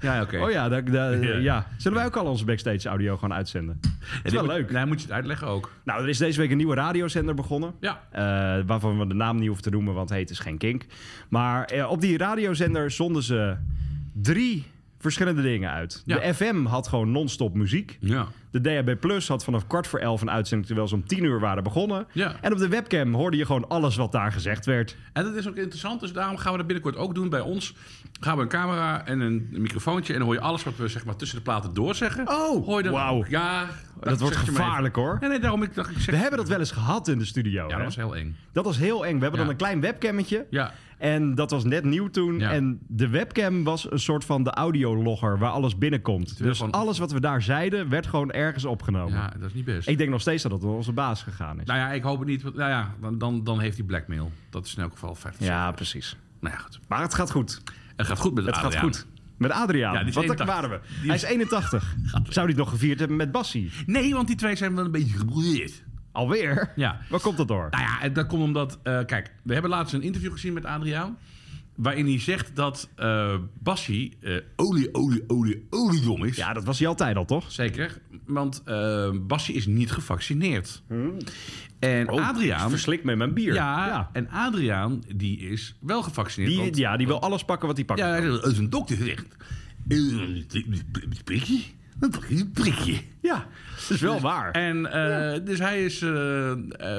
[SPEAKER 3] Ja, oké.
[SPEAKER 4] Oh ja, dat,
[SPEAKER 3] (laughs)
[SPEAKER 4] dat-
[SPEAKER 3] Ja.
[SPEAKER 4] ja. Zullen wij ook al onze backstage audio gewoon uitzenden? Dat
[SPEAKER 3] Ja,
[SPEAKER 4] is wel
[SPEAKER 3] die moet-
[SPEAKER 4] leuk.
[SPEAKER 3] Nou, moet je het uitleggen ook.
[SPEAKER 4] Nou, er is deze week een nieuwe radiozender begonnen.
[SPEAKER 3] Ja.
[SPEAKER 4] Eh, waarvan we de naam niet hoeven te noemen, want hey, het is geen kink. Maar eh, op die radiozender zonden ze drie verschillende dingen uit.
[SPEAKER 3] Ja.
[SPEAKER 4] De FM had gewoon non-stop muziek.
[SPEAKER 3] Ja.
[SPEAKER 4] De DHB Plus had vanaf kwart voor elf een uitzending terwijl ze om tien uur waren begonnen.
[SPEAKER 3] Ja.
[SPEAKER 4] En op de webcam hoorde je gewoon alles wat daar gezegd werd.
[SPEAKER 3] En dat is ook interessant, dus daarom gaan we dat binnenkort ook doen bij ons. Gaan we een camera en een microfoontje en dan hoor je alles wat we zeg maar, tussen de platen doorzeggen.
[SPEAKER 4] Oh,
[SPEAKER 3] hoor je dan
[SPEAKER 4] wauw.
[SPEAKER 3] ook. Ja,
[SPEAKER 4] Dat wordt
[SPEAKER 3] zeg je maar
[SPEAKER 4] gevaarlijk,
[SPEAKER 3] even.
[SPEAKER 4] hoor.
[SPEAKER 3] Nee, nee, daarom ik dacht ik zeg.
[SPEAKER 4] We hebben dat wel eens gehad in de studio.
[SPEAKER 3] ja,
[SPEAKER 4] hè?
[SPEAKER 3] dat was heel eng.
[SPEAKER 4] Dat was heel eng. We hebben
[SPEAKER 3] Ja.
[SPEAKER 4] dan een klein webcammetje.
[SPEAKER 3] Ja.
[SPEAKER 4] En dat was net nieuw toen.
[SPEAKER 3] Ja.
[SPEAKER 4] En de webcam was een soort van de audiologger waar alles binnenkomt.
[SPEAKER 3] werd
[SPEAKER 4] Dus
[SPEAKER 3] gewoon-
[SPEAKER 4] alles wat we daar zeiden werd gewoon ergens opgenomen.
[SPEAKER 3] Ja, dat is niet best.
[SPEAKER 4] Ik denk nog steeds dat dat door onze baas gegaan is.
[SPEAKER 3] Nou ja, ik hoop het niet. want- Nou ja, dan, dan, dan heeft hij blackmail. Dat is in elk geval 50.
[SPEAKER 4] ja, precies.
[SPEAKER 3] Nou ja, goed.
[SPEAKER 4] Maar het gaat goed.
[SPEAKER 3] Het gaat goed met
[SPEAKER 4] Het gaat
[SPEAKER 3] Adriaan.
[SPEAKER 4] goed. Met Adriaan.
[SPEAKER 3] Ja, die is
[SPEAKER 4] Want daar
[SPEAKER 3] 81.
[SPEAKER 4] waren we.
[SPEAKER 3] Die
[SPEAKER 4] Hij is
[SPEAKER 3] is-
[SPEAKER 4] 81. Zou hij het nog gevierd hebben met Bassie?
[SPEAKER 3] Nee, want die twee zijn wel een beetje gebroeierd.
[SPEAKER 4] Alweer?
[SPEAKER 3] Ja.
[SPEAKER 4] Waar komt dat door?
[SPEAKER 3] Nou ja, en dat komt omdat... eh, kijk, we hebben laatst een interview gezien met Adriaan... waarin hij zegt dat eh Bassie eh, olie, olie, olie, oliedom is.
[SPEAKER 4] Ja, dat was hij altijd al, toch?
[SPEAKER 3] Zeker, want eh Bassie is niet gevaccineerd. En Adriaan...
[SPEAKER 4] Verslikt met mijn bier.
[SPEAKER 3] Ja, en Adriaan, die is wel gevaccineerd.
[SPEAKER 4] Die,
[SPEAKER 3] want-
[SPEAKER 4] ja, die wil alles pakken wat hij pakt.
[SPEAKER 3] Ja, als een dokter zegt... "Eh, Prikje? Dan pak je een prikje.
[SPEAKER 4] ja. dat is
[SPEAKER 3] (laughs)
[SPEAKER 4] wel waar.
[SPEAKER 3] En eh, dus hij is eh eh,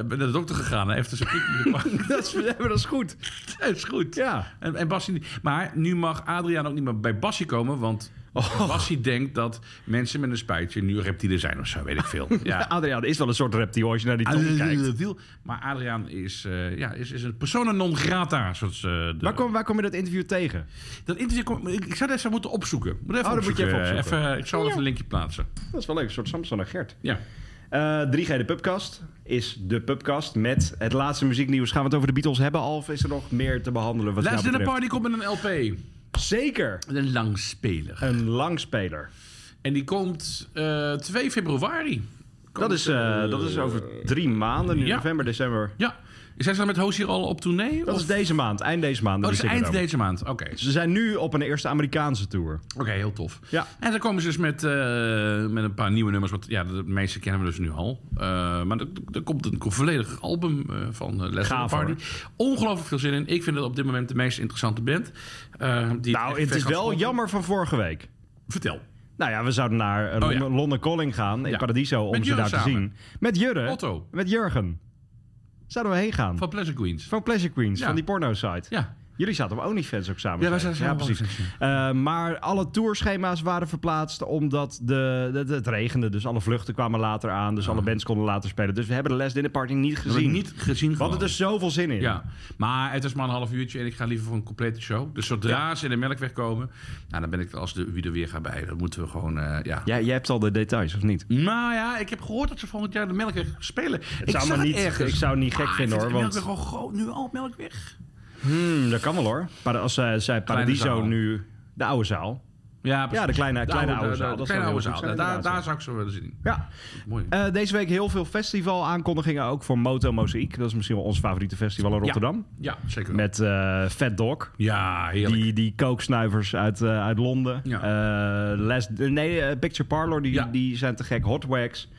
[SPEAKER 3] naar de dokter gegaan. Hij heeft dus een prikje gepakt.
[SPEAKER 4] (laughs) Dat is, ja, maar dat is goed.
[SPEAKER 3] Dat is goed.
[SPEAKER 4] Ja.
[SPEAKER 3] En, en Bassie niet. Maar nu mag Adriaan ook niet meer bij Bassie komen, want
[SPEAKER 4] Oh.
[SPEAKER 3] Bassie denkt dat mensen met een spuitje nu reptielen zijn of zo, weet ik
[SPEAKER 4] (laughs)
[SPEAKER 3] veel. Ja.
[SPEAKER 4] Adriaan is wel een soort reptiel als je naar die tong kijkt.
[SPEAKER 3] Adriaan- Maar Adriaan is, eh, ja, is, is een persona non grata. Zoals, eh, de-
[SPEAKER 4] Waar kom, waar kom je dat interview tegen?
[SPEAKER 3] Dat interview kom, ik, ik zou dat even moeten opzoeken. Moet even
[SPEAKER 4] Oh, dat moet je
[SPEAKER 3] opzoeken.
[SPEAKER 4] even opzoeken.
[SPEAKER 3] eh, ik zal even een linkje plaatsen.
[SPEAKER 4] Dat is wel leuk, een soort Samson en Gert.
[SPEAKER 3] Ja.
[SPEAKER 4] Eh, 3G de Pubcast is de Pubcast met het laatste muzieknieuws. Gaan we het over de Beatles hebben? Of is er nog meer te behandelen? Wat
[SPEAKER 3] Last
[SPEAKER 4] jou
[SPEAKER 3] Dinner
[SPEAKER 4] betreft?
[SPEAKER 3] Party komt met een LP.
[SPEAKER 4] Zeker
[SPEAKER 3] Een langspeler.
[SPEAKER 4] een langspeler.
[SPEAKER 3] En die komt eh 2 februari. Komt,
[SPEAKER 4] Dat is, eh,
[SPEAKER 3] eh,
[SPEAKER 4] dat is over drie maanden, nu
[SPEAKER 3] ja.
[SPEAKER 4] november, december.
[SPEAKER 3] Ja. Zijn ze dan met Hoos hier al op tournee?
[SPEAKER 4] Dat
[SPEAKER 3] of?
[SPEAKER 4] is deze maand, dus eind deze maand.
[SPEAKER 3] Oh,
[SPEAKER 4] dat
[SPEAKER 3] dat is
[SPEAKER 4] is
[SPEAKER 3] eind
[SPEAKER 4] Ziggo Dome.
[SPEAKER 3] deze maand. Oké,
[SPEAKER 4] Ze zijn nu op een eerste Amerikaanse tour.
[SPEAKER 3] Oké, heel tof.
[SPEAKER 4] Ja.
[SPEAKER 3] En dan komen ze dus met, eh, met een paar nieuwe nummers. Want ja, de meeste kennen we dus nu al. Eh, maar er, er komt een volledig album eh, van eh, Les
[SPEAKER 4] Gaaf,
[SPEAKER 3] Party. Ongelooflijk veel zin in. Ik vind het op dit moment de meest interessante band. eh, die
[SPEAKER 4] Nou,
[SPEAKER 3] echt
[SPEAKER 4] het
[SPEAKER 3] ver
[SPEAKER 4] is
[SPEAKER 3] gaat
[SPEAKER 4] wel
[SPEAKER 3] schoppen.
[SPEAKER 4] jammer van vorige week.
[SPEAKER 3] Vertel.
[SPEAKER 4] Nou ja, we zouden naar eh,
[SPEAKER 3] Oh ja.
[SPEAKER 4] Lon- Londen Calling gaan in
[SPEAKER 3] Ja.
[SPEAKER 4] Paradiso om
[SPEAKER 3] Met
[SPEAKER 4] ze
[SPEAKER 3] Jurre
[SPEAKER 4] daar te
[SPEAKER 3] samen.
[SPEAKER 4] zien. Met Jurre.
[SPEAKER 3] Otto.
[SPEAKER 4] Met Jurgen. Zouden we heen gaan. Van,
[SPEAKER 3] Van Pleasure Queens.
[SPEAKER 4] Pleasure Queens,
[SPEAKER 3] Ja.
[SPEAKER 4] van die porno-site.
[SPEAKER 3] Ja.
[SPEAKER 4] Jullie zaten op OnlyFans ook samen.
[SPEAKER 3] Ja, wij
[SPEAKER 4] zei je.
[SPEAKER 3] zaten
[SPEAKER 4] ja,
[SPEAKER 3] samen op
[SPEAKER 4] precies. Eh, maar alle tourschema's waren verplaatst omdat de, de- de- het regende. Dus alle vluchten kwamen later aan. Dus alle bands konden later spelen. Dus we hebben de Les Dinner Party niet
[SPEAKER 3] Dat heb
[SPEAKER 4] gezien.
[SPEAKER 3] ik Ah. niet gezien
[SPEAKER 4] We hadden
[SPEAKER 3] gewoon.
[SPEAKER 4] er zoveel zin in.
[SPEAKER 3] Ja, maar het is maar een half uurtje en ik ga liever voor een complete show. Dus zodra ze in de melkweg komen, nou, dan ben ik er als de, wie er weer gaat bij. Dat moeten we gewoon, eh, ja.
[SPEAKER 4] Jij, jij hebt al de details, of niet?
[SPEAKER 3] Nou ja, ik heb gehoord dat ze volgend jaar de melkweg spelen. ik
[SPEAKER 4] zou
[SPEAKER 3] zag het
[SPEAKER 4] me niet-
[SPEAKER 3] ergens. Ah,
[SPEAKER 4] ik zou het niet gek
[SPEAKER 3] ik
[SPEAKER 4] vinden,
[SPEAKER 3] vind
[SPEAKER 4] hoor,
[SPEAKER 3] de
[SPEAKER 4] want-
[SPEAKER 3] Melkweg al groot, nu al melkweg.
[SPEAKER 4] Hmm, dat kan wel hoor. Maar als eh, zij, zij Paradiso
[SPEAKER 3] zaal.
[SPEAKER 4] nu de oude zaal.
[SPEAKER 3] Ja,
[SPEAKER 4] Ja, de kleine, kleine oude,
[SPEAKER 3] de-
[SPEAKER 4] zaal.
[SPEAKER 3] de
[SPEAKER 4] dat zou
[SPEAKER 3] kleine
[SPEAKER 4] heel
[SPEAKER 3] oude
[SPEAKER 4] goed
[SPEAKER 3] zaal.
[SPEAKER 4] zijn,
[SPEAKER 3] Daar,
[SPEAKER 4] inderdaad,
[SPEAKER 3] daar zou ik zo wel zin in.
[SPEAKER 4] ja.
[SPEAKER 3] Mooi.
[SPEAKER 4] Ja. Eh, deze week heel veel festival-aankondigingen. Ook voor Moto Mozaïek. Dat is misschien wel ons favoriete festival in Rotterdam.
[SPEAKER 3] Ja, zeker. wel.
[SPEAKER 4] Met eh, Fat Dog.
[SPEAKER 3] ja, heerlijk.
[SPEAKER 4] Die, die kooksnuivers uit, eh, uit Londen.
[SPEAKER 3] Ja.
[SPEAKER 4] Eh, Les, nee, eh, Picture Parlor, die,
[SPEAKER 3] Ja.
[SPEAKER 4] die zijn te gek. Hot Wax.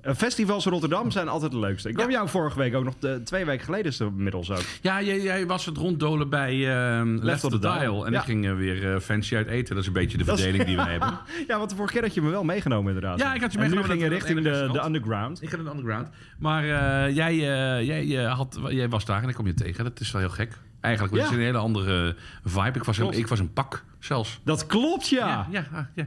[SPEAKER 4] Eh, festivals in Rotterdam zijn altijd de leukste. Ik kwam jou vorige week ook nog, de, twee weken geleden is het inmiddels ook.
[SPEAKER 3] Ja, jij, jij was het ronddolen bij eh, Left,
[SPEAKER 4] on
[SPEAKER 3] of the
[SPEAKER 4] the
[SPEAKER 3] Dial.
[SPEAKER 4] Dial.
[SPEAKER 3] En
[SPEAKER 4] Ja.
[SPEAKER 3] ik ging eh, weer eh, fancy uit eten. Dat is een beetje de
[SPEAKER 4] Dat is-
[SPEAKER 3] verdeling die we
[SPEAKER 4] (laughs)
[SPEAKER 3] hebben.
[SPEAKER 4] Ja, want de vorige keer had je me wel meegenomen inderdaad.
[SPEAKER 3] Ja, ik had je
[SPEAKER 4] En
[SPEAKER 3] meegenomen
[SPEAKER 4] nu ging je
[SPEAKER 3] naar dat-
[SPEAKER 4] richting
[SPEAKER 3] dat
[SPEAKER 4] de,
[SPEAKER 3] ene
[SPEAKER 4] de
[SPEAKER 3] restaurant.
[SPEAKER 4] underground.
[SPEAKER 3] Ik ga naar de underground. Maar eh, jij, eh, jij, eh, had, jij was daar en ik kom je tegen. Dat is wel heel gek. Eigenlijk, want het
[SPEAKER 4] Ja.
[SPEAKER 3] is een hele andere vibe. Ik was, een,
[SPEAKER 4] Klopt.
[SPEAKER 3] ik was een pak zelfs.
[SPEAKER 4] Dat klopt, ja.
[SPEAKER 3] Ja,
[SPEAKER 4] Ja.
[SPEAKER 3] ja, ah, ja.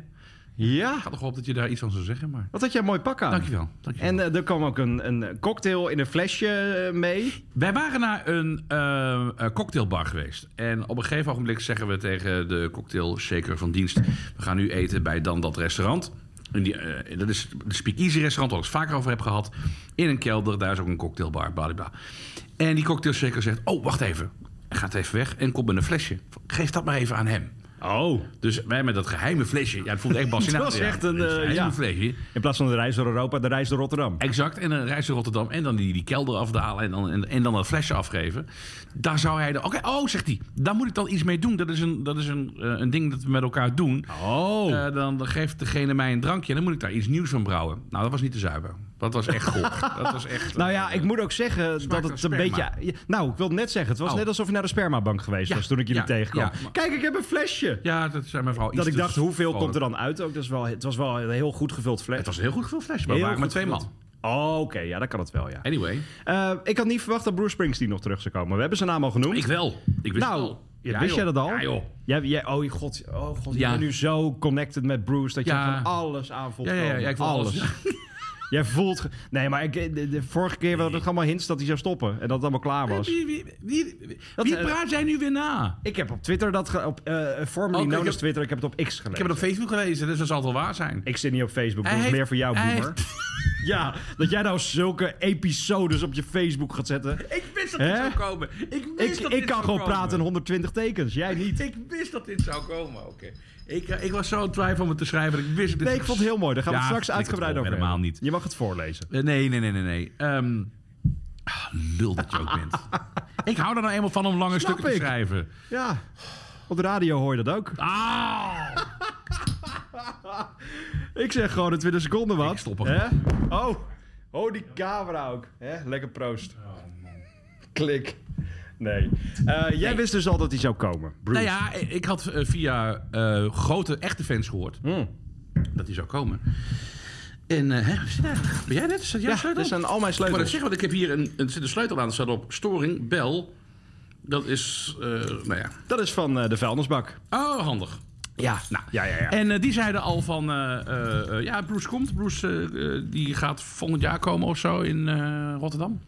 [SPEAKER 3] Ik had nog gehoopt dat je daar iets van zou zeggen, maar...
[SPEAKER 4] Wat had jij een mooi pak aan.
[SPEAKER 3] Dankjewel. dankjewel.
[SPEAKER 4] En eh, er kwam ook een, een cocktail in een flesje eh, mee.
[SPEAKER 3] Wij waren naar een eh, eh, cocktailbar geweest. En op een gegeven ogenblik zeggen we tegen de cocktailshaker van dienst... we gaan nu eten bij dan dat restaurant. En die, eh, dat is de speakeasy restaurant, waar ik het vaker over heb gehad. In een kelder, daar is ook een cocktailbar, bladibla. En die cocktailshaker zegt, oh, wacht even. Hij gaat even weg en komt met een flesje. Geef dat maar even aan hem.
[SPEAKER 4] Oh.
[SPEAKER 3] Dus wij met dat geheime flesje. Ja, het voelt
[SPEAKER 4] (laughs)
[SPEAKER 3] echt Bas in
[SPEAKER 4] Het was
[SPEAKER 3] Adriaan.
[SPEAKER 4] echt een,
[SPEAKER 3] Het is
[SPEAKER 4] eh,
[SPEAKER 3] geheime
[SPEAKER 4] ja.
[SPEAKER 3] flesje.
[SPEAKER 4] In plaats van de reis door Europa, de reis door Rotterdam.
[SPEAKER 3] Exact. En dan reis naar Rotterdam en dan die, die kelder afdalen en dan, en, en dan dat flesje afgeven. Daar zou hij dan... Oké, oh, zegt hij. Daar moet ik dan iets mee doen. Dat is een, dat is een, eh, een ding dat we met elkaar doen.
[SPEAKER 4] Oh.
[SPEAKER 3] Eh, dan geeft degene mij een drankje en dan moet ik daar iets nieuws van brouwen. Nou, dat was niet te zuiver. Dat was echt goor.
[SPEAKER 4] (laughs)
[SPEAKER 3] dat was echt...
[SPEAKER 4] nou ja,
[SPEAKER 3] eh,
[SPEAKER 4] ik moet ook zeggen dat
[SPEAKER 3] naar
[SPEAKER 4] het een beetje...
[SPEAKER 3] sperma.
[SPEAKER 4] ja, Nou, ik wil net zeggen, het was
[SPEAKER 3] Oh.
[SPEAKER 4] net alsof je naar de spermabank geweest
[SPEAKER 3] Ja,
[SPEAKER 4] was toen ik jullie
[SPEAKER 3] ja,
[SPEAKER 4] tegenkwam.
[SPEAKER 3] ja, maar-
[SPEAKER 4] Kijk, ik heb een flesje.
[SPEAKER 3] Ja, dat zei mijn vrouw. iets
[SPEAKER 4] Dat ik
[SPEAKER 3] te
[SPEAKER 4] dacht, hoeveel
[SPEAKER 3] vrolijk.
[SPEAKER 4] komt er dan uit? Ook, dat is wel, het was wel een heel goed gevuld fles.
[SPEAKER 3] Oh, Het was een heel goed veel flesje, maar we
[SPEAKER 4] Heel
[SPEAKER 3] waren met
[SPEAKER 4] goed
[SPEAKER 3] twee man.
[SPEAKER 4] gevuld. Oh, Oké, ja, dat kan het wel, ja.
[SPEAKER 3] Anyway,
[SPEAKER 4] Eh, ik had niet verwacht dat Bruce Springsteen nog terug zou komen. We hebben zijn naam al genoemd.
[SPEAKER 3] ik wel. Ik wist
[SPEAKER 4] nou,
[SPEAKER 3] het al.
[SPEAKER 4] ja,
[SPEAKER 3] Ja,
[SPEAKER 4] wist
[SPEAKER 3] joh.
[SPEAKER 4] jij dat al?
[SPEAKER 3] Ja, joh.
[SPEAKER 4] Jij, jij- oh god, oh
[SPEAKER 3] Ja.
[SPEAKER 4] god je bent nu zo connected met Bruce dat
[SPEAKER 3] Ja.
[SPEAKER 4] je van alles aan voelt
[SPEAKER 3] Ja, ja, ja,
[SPEAKER 4] komen.
[SPEAKER 3] ja, ik voel alles.
[SPEAKER 4] jij voelt... ge- Nee, maar ik, de, de vorige keer waren het allemaal hints dat hij zou stoppen en dat het allemaal klaar
[SPEAKER 3] (laughs)
[SPEAKER 4] was.
[SPEAKER 3] Wie, wie, wie, wie,
[SPEAKER 4] Dat,
[SPEAKER 3] wie
[SPEAKER 4] eh,
[SPEAKER 3] praat jij nu weer na?
[SPEAKER 4] Ik heb op Twitter dat... Ge, op, eh formerly
[SPEAKER 3] Oh, ik
[SPEAKER 4] known
[SPEAKER 3] heb-
[SPEAKER 4] as Twitter, ik heb het op X gelezen.
[SPEAKER 3] Ik heb het op Facebook gelezen, dus dat zal toch waar zijn?
[SPEAKER 4] Ik zit niet op Facebook,
[SPEAKER 3] Hij
[SPEAKER 4] dat is
[SPEAKER 3] heeft-
[SPEAKER 4] meer voor jou,
[SPEAKER 3] hij
[SPEAKER 4] boemer. (laughs) Ja, dat jij nou zulke episodes op je Facebook gaat zetten.
[SPEAKER 3] Ik wist dat
[SPEAKER 4] Hè?
[SPEAKER 3] dit zou komen. Ik
[SPEAKER 4] Ik,
[SPEAKER 3] wist dat
[SPEAKER 4] ik
[SPEAKER 3] dit
[SPEAKER 4] kan
[SPEAKER 3] zou
[SPEAKER 4] gewoon
[SPEAKER 3] komen.
[SPEAKER 4] praten in 120 tekens, jij niet.
[SPEAKER 3] Ik wist dat dit zou komen, oké. Ik, eh, ik was zo in twijfel om het te schrijven. dat Ik wist dat dit
[SPEAKER 4] Nee, ik vond het heel mooi. Daar gaan we
[SPEAKER 3] Ja,
[SPEAKER 4] het straks
[SPEAKER 3] flikker
[SPEAKER 4] uitgebreid
[SPEAKER 3] op,
[SPEAKER 4] over
[SPEAKER 3] helemaal
[SPEAKER 4] hebben.
[SPEAKER 3] niet.
[SPEAKER 4] Je mag het voorlezen.
[SPEAKER 3] Eh, Nee, nee, nee, nee, nee. Ehm, ah, lul dat je ook bent. Ik
[SPEAKER 4] (laughs)
[SPEAKER 3] hou er nou eenmaal van om lange
[SPEAKER 4] Snap
[SPEAKER 3] stukken
[SPEAKER 4] ik.
[SPEAKER 3] te schrijven.
[SPEAKER 4] Ja, op de radio hoor je dat ook.
[SPEAKER 3] Ah!
[SPEAKER 4] Ik zeg gewoon in 20 seconden wat.
[SPEAKER 3] Ik stop er
[SPEAKER 4] Hè? Oh, oh, die camera ook. Hè? Lekker proost.
[SPEAKER 3] Oh,
[SPEAKER 4] Klik. Nee. Eh, jij wist dus al dat hij zou komen, Bruce.
[SPEAKER 3] Nou ja, eh, ik had eh, via eh, grote, echte fans gehoord
[SPEAKER 4] Hmm.
[SPEAKER 3] dat die zou komen. En eh, hè, wat zit daar? ben jij net? Zat jouw
[SPEAKER 4] Ja,
[SPEAKER 3] sleutel?
[SPEAKER 4] dit zijn al mijn
[SPEAKER 3] Ik wou
[SPEAKER 4] sleutels.
[SPEAKER 3] dat zeggen, want ik heb hier een, een, zit een sleutel aan. Er staat op storing, bel. Dat is, eh, nou ja.
[SPEAKER 4] Dat is van eh, de vuilnisbak.
[SPEAKER 3] Oh, handig. Ja, nou.
[SPEAKER 4] Ja, ja, ja.
[SPEAKER 3] En eh, die zeiden al van, eh, eh, eh, ja, Bruce komt. Bruce eh, eh, die gaat volgend jaar komen of zo in eh, Rotterdam.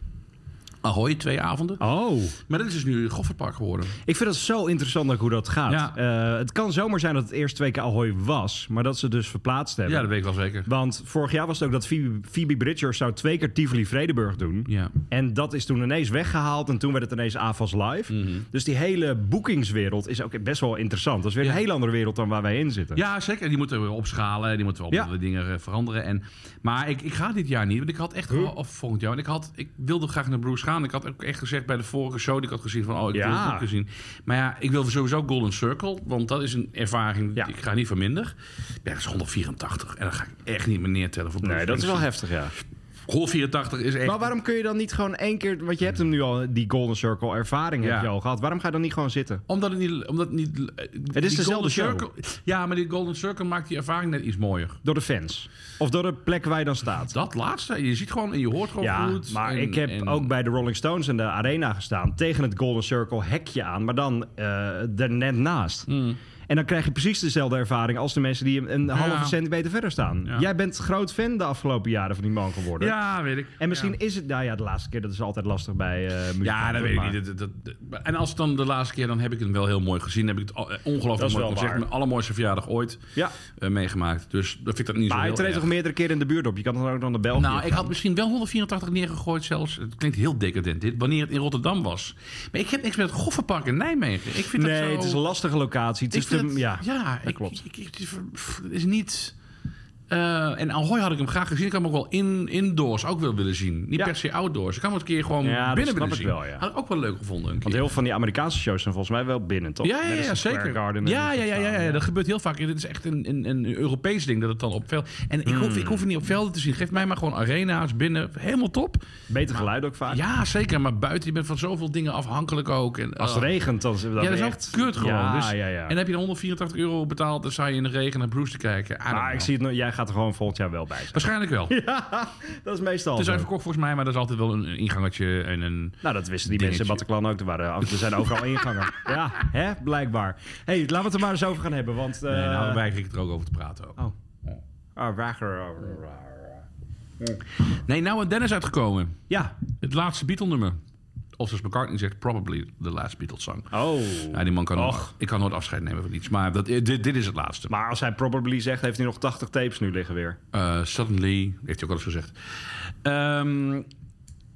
[SPEAKER 3] Ahoy, twee avonden.
[SPEAKER 4] Oh.
[SPEAKER 3] Maar dat is dus nu Goffertpark geworden.
[SPEAKER 4] Ik vind dat zo interessant ook hoe dat gaat.
[SPEAKER 3] Ja.
[SPEAKER 4] Eh, het kan zomaar zijn dat het eerst twee keer Ahoy was, maar dat ze dus verplaatst hebben.
[SPEAKER 3] Ja, dat weet ik wel zeker.
[SPEAKER 4] Want vorig jaar was het ook dat Phoebe, Phoebe Bridgers zou twee keer Tivoli-Vredenburg doen.
[SPEAKER 3] Ja.
[SPEAKER 4] En dat is toen ineens weggehaald en toen werd het ineens AFAS Live. Dus die hele boekingswereld is ook best wel interessant. Dat is weer een
[SPEAKER 3] Ja.
[SPEAKER 4] hele andere wereld dan waar wij in zitten.
[SPEAKER 3] Ja, zeker. En die moeten we weer opschalen. en Die moeten we
[SPEAKER 4] Ja.
[SPEAKER 3] andere dingen eh, veranderen. En, maar ik, ik ga dit jaar niet. Want ik had echt... Of volgend jaar. Want ik, had, ik wilde graag naar Bruce gaan. Ik had ook echt gezegd bij de vorige show die ik had gezien... van oh, ik wil
[SPEAKER 4] Ja.
[SPEAKER 3] het boek gezien. Maar ja, ik wil sowieso Golden Circle. Want dat is een ervaring...
[SPEAKER 4] Ja.
[SPEAKER 3] Ik ga niet van minder. Ja, dat is 184. En dat ga ik echt niet meer neertellen voor Bruce.
[SPEAKER 4] Nee, dat is wel heftig, ja.
[SPEAKER 3] 184 is echt...
[SPEAKER 4] Maar waarom kun je dan niet gewoon één keer... Want je hebt hem nu al, die Golden Circle ervaring
[SPEAKER 3] Ja.
[SPEAKER 4] heb je al gehad. Waarom ga je dan niet gewoon zitten?
[SPEAKER 3] Omdat het niet... Omdat het, niet eh, die
[SPEAKER 4] dezelfde
[SPEAKER 3] Golden
[SPEAKER 4] show.
[SPEAKER 3] Circle, ja, maar die Golden Circle maakt die ervaring net iets mooier.
[SPEAKER 4] Door de fans. Of door de plek waar je dan staat.
[SPEAKER 3] Dat laatste. Je ziet gewoon en je hoort gewoon
[SPEAKER 4] Ja,
[SPEAKER 3] goed.
[SPEAKER 4] maar
[SPEAKER 3] en-
[SPEAKER 4] ik heb
[SPEAKER 3] en-
[SPEAKER 4] ook bij de Rolling Stones in de arena gestaan. Tegen het Golden Circle hekje aan. Maar dan eh er net naast.
[SPEAKER 3] Hmm.
[SPEAKER 4] En dan krijg je precies dezelfde ervaring als de mensen die een halve centimeter verder staan.
[SPEAKER 3] Ja.
[SPEAKER 4] Jij bent groot fan de afgelopen jaren van die man geworden.
[SPEAKER 3] Ja, weet ik.
[SPEAKER 4] En misschien
[SPEAKER 3] Ja.
[SPEAKER 4] is het, nou ja, de laatste keer, dat is altijd lastig bij eh muziek.
[SPEAKER 3] Ja, dat weet ik niet. Dat, dat- dat- en als het dan de laatste keer, dan heb ik het wel heel mooi gezien. Dan heb ik het al- eh,
[SPEAKER 4] Dat
[SPEAKER 3] ongelooflijk
[SPEAKER 4] is
[SPEAKER 3] mooi
[SPEAKER 4] wel
[SPEAKER 3] concert.
[SPEAKER 4] waar.
[SPEAKER 3] Mijn allermooiste verjaardag ooit
[SPEAKER 4] Ja,
[SPEAKER 3] eh, meegemaakt. Dus dat vind ik dat niet
[SPEAKER 4] maar
[SPEAKER 3] zo
[SPEAKER 4] hij
[SPEAKER 3] heel
[SPEAKER 4] treedt
[SPEAKER 3] erg.
[SPEAKER 4] toch meerdere keren in de buurt op. Je kan dan ook dan de België.
[SPEAKER 3] Nou, ik had misschien wel 184 neergegooid zelfs. Het klinkt heel decadent dit, wanneer het in Rotterdam was. Maar ik heb niks met het Goffenpark in Nijmegen. Ik vind dat
[SPEAKER 4] nee,
[SPEAKER 3] zo...
[SPEAKER 4] het is een lastige locatie.
[SPEAKER 3] ik
[SPEAKER 4] Het is te,
[SPEAKER 3] vind het-
[SPEAKER 4] Dus ja, dat
[SPEAKER 3] ik-
[SPEAKER 4] klopt.
[SPEAKER 3] ik- ik- het is- pff, het is niet... eh, en Ahoy had ik hem graag gezien. Ik had hem ook wel in, indoors ook wel willen zien. Niet
[SPEAKER 4] Ja.
[SPEAKER 3] per se outdoors. Ik had hem een keer gewoon
[SPEAKER 4] Ja, dat
[SPEAKER 3] binnen
[SPEAKER 4] snap
[SPEAKER 3] willen zien.
[SPEAKER 4] ik wel, ja.
[SPEAKER 3] Had ik ook wel leuk gevonden. Een keer.
[SPEAKER 4] Want heel veel van die Amerikaanse shows zijn volgens mij wel binnen, toch?
[SPEAKER 3] Ja, ja, ja,
[SPEAKER 4] Madison Square
[SPEAKER 3] zeker.
[SPEAKER 4] Garden en
[SPEAKER 3] ja, ja,
[SPEAKER 4] dit soort
[SPEAKER 3] ja, ja,
[SPEAKER 4] staan.
[SPEAKER 3] ja, dat gebeurt heel vaak. Dit is echt een, een, een Europees ding dat het dan op veld. En ik, hoef, ik hoef het niet op velden te zien. Geef mij maar gewoon arena's binnen. Helemaal top.
[SPEAKER 4] Beter geluid ook vaak.
[SPEAKER 3] Ja, zeker. Maar buiten, je bent van zoveel dingen afhankelijk ook. En,
[SPEAKER 4] Als het
[SPEAKER 3] oh.
[SPEAKER 4] regent, dan is dat,
[SPEAKER 3] Ja, dat is
[SPEAKER 4] echt...
[SPEAKER 3] echt kut gewoon.
[SPEAKER 4] Ja,
[SPEAKER 3] dus,
[SPEAKER 4] ja, ja.
[SPEAKER 3] En dan heb je dan 184 euro betaald. Dan sta je in de regen naar Bruce te kijken. I don't
[SPEAKER 4] maar
[SPEAKER 3] know.
[SPEAKER 4] ik zie het, nog- jij gaat er gewoon volgend jaar wel
[SPEAKER 3] (laughs)
[SPEAKER 4] bij zijn.
[SPEAKER 3] Waarschijnlijk wel. Het
[SPEAKER 4] Dat is meestal
[SPEAKER 3] is
[SPEAKER 4] zo.
[SPEAKER 3] uitverkocht volgens mij, maar dat is altijd wel een, een ingangetje. En een...
[SPEAKER 4] Nou, dat wisten die
[SPEAKER 3] Dingetje.
[SPEAKER 4] mensen in Bataclan ook. Er, waren, er zijn overal ingangen.
[SPEAKER 3] (laughs)
[SPEAKER 4] Ja, hè, blijkbaar. hey, laten we het er maar eens over gaan hebben, want... eh,
[SPEAKER 3] Nee, nou weiger ik er ook over te praten. Ook.
[SPEAKER 4] Oh. Ah, wager. oh.
[SPEAKER 3] Nee, nou een Dennis uitgekomen.
[SPEAKER 4] Ja.
[SPEAKER 3] Het laatste Beatle-nummer. Of zoals McCartney zegt, probably the last Beatles song.
[SPEAKER 4] Oh.
[SPEAKER 3] Ja, die man kan
[SPEAKER 4] Och.
[SPEAKER 3] nooit, ik kan nooit afscheid nemen van iets. Maar dat, eh, dit, dit is het laatste.
[SPEAKER 4] Maar als hij probably zegt, heeft hij nog 80 tapes nu liggen weer.
[SPEAKER 3] Eh, suddenly, heeft hij ook al eens gezegd. Ehm,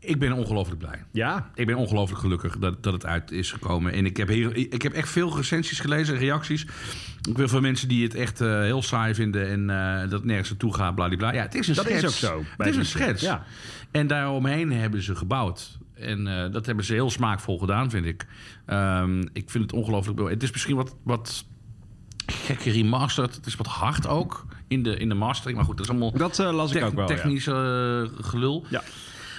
[SPEAKER 3] ik ben ongelooflijk blij.
[SPEAKER 4] Ja.
[SPEAKER 3] Ik ben ongelooflijk gelukkig dat, dat het uit is gekomen. En ik heb, hier, ik heb echt veel recensies gelezen en reacties. Ook weer van mensen die het echt eh, heel saai vinden en eh, dat het nergens naartoe gaat, bladibla. Ja, het is een
[SPEAKER 4] Dat
[SPEAKER 3] schets.
[SPEAKER 4] is ook zo,
[SPEAKER 3] Het
[SPEAKER 4] bij
[SPEAKER 3] is een
[SPEAKER 4] die-
[SPEAKER 3] schets.
[SPEAKER 4] ja.
[SPEAKER 3] En daaromheen hebben ze gebouwd. En eh, dat hebben ze heel smaakvol gedaan, vind ik. Ehm, ik vind het ongelooflijk. mooi. Het is misschien wat, wat gekke remastered. Het is wat hard ook in de, in de mastering. Maar goed, dat is allemaal
[SPEAKER 4] Dat eh, las ik ook wel, ja.
[SPEAKER 3] technisch eh, gelul.
[SPEAKER 4] Ja.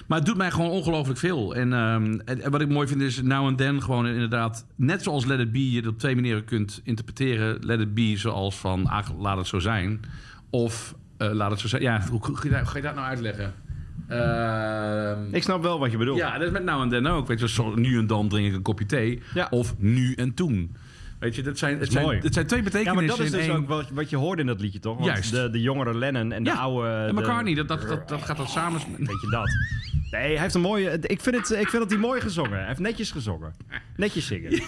[SPEAKER 3] Maar het doet mij gewoon ongelooflijk veel. En, ehm, en, en wat ik mooi vind is now and then gewoon inderdaad... net zoals Let It Be je het op twee manieren kunt interpreteren. Let It Be zoals van ah, laat het zo zijn. Of eh, laat het zo zijn. Ja, hoe, hoe, ga je dat- hoe ga je dat nou uitleggen? Ehm,
[SPEAKER 4] Ik snap wel wat je bedoelt.
[SPEAKER 3] ja, dat is met nou en dan ook. Weet je, zo, nu en dan drink ik een kopje thee.
[SPEAKER 4] Ja.
[SPEAKER 3] Of nu en toen. Weet je, dat zijn, het,
[SPEAKER 4] is
[SPEAKER 3] zijn,
[SPEAKER 4] mooi.
[SPEAKER 3] het zijn twee
[SPEAKER 4] Ja,
[SPEAKER 3] betekenissen
[SPEAKER 4] maar dat is
[SPEAKER 3] in
[SPEAKER 4] dus
[SPEAKER 3] één.
[SPEAKER 4] ook wat, wat je hoorde in dat liedje, toch? Want
[SPEAKER 3] Juist.
[SPEAKER 4] De, de jongere Lennon en de
[SPEAKER 3] ja,
[SPEAKER 4] oude...
[SPEAKER 3] en
[SPEAKER 4] de-
[SPEAKER 3] McCartney, dat, dat, dat, dat gaat dan
[SPEAKER 4] (laughs)
[SPEAKER 3] samen...
[SPEAKER 4] Weet je dat? Nee, hij heeft een mooie... Ik vind, het, ik vind dat hij mooi gezongen. Hij heeft netjes gezongen. Netjes
[SPEAKER 3] (laughs)
[SPEAKER 4] zingen.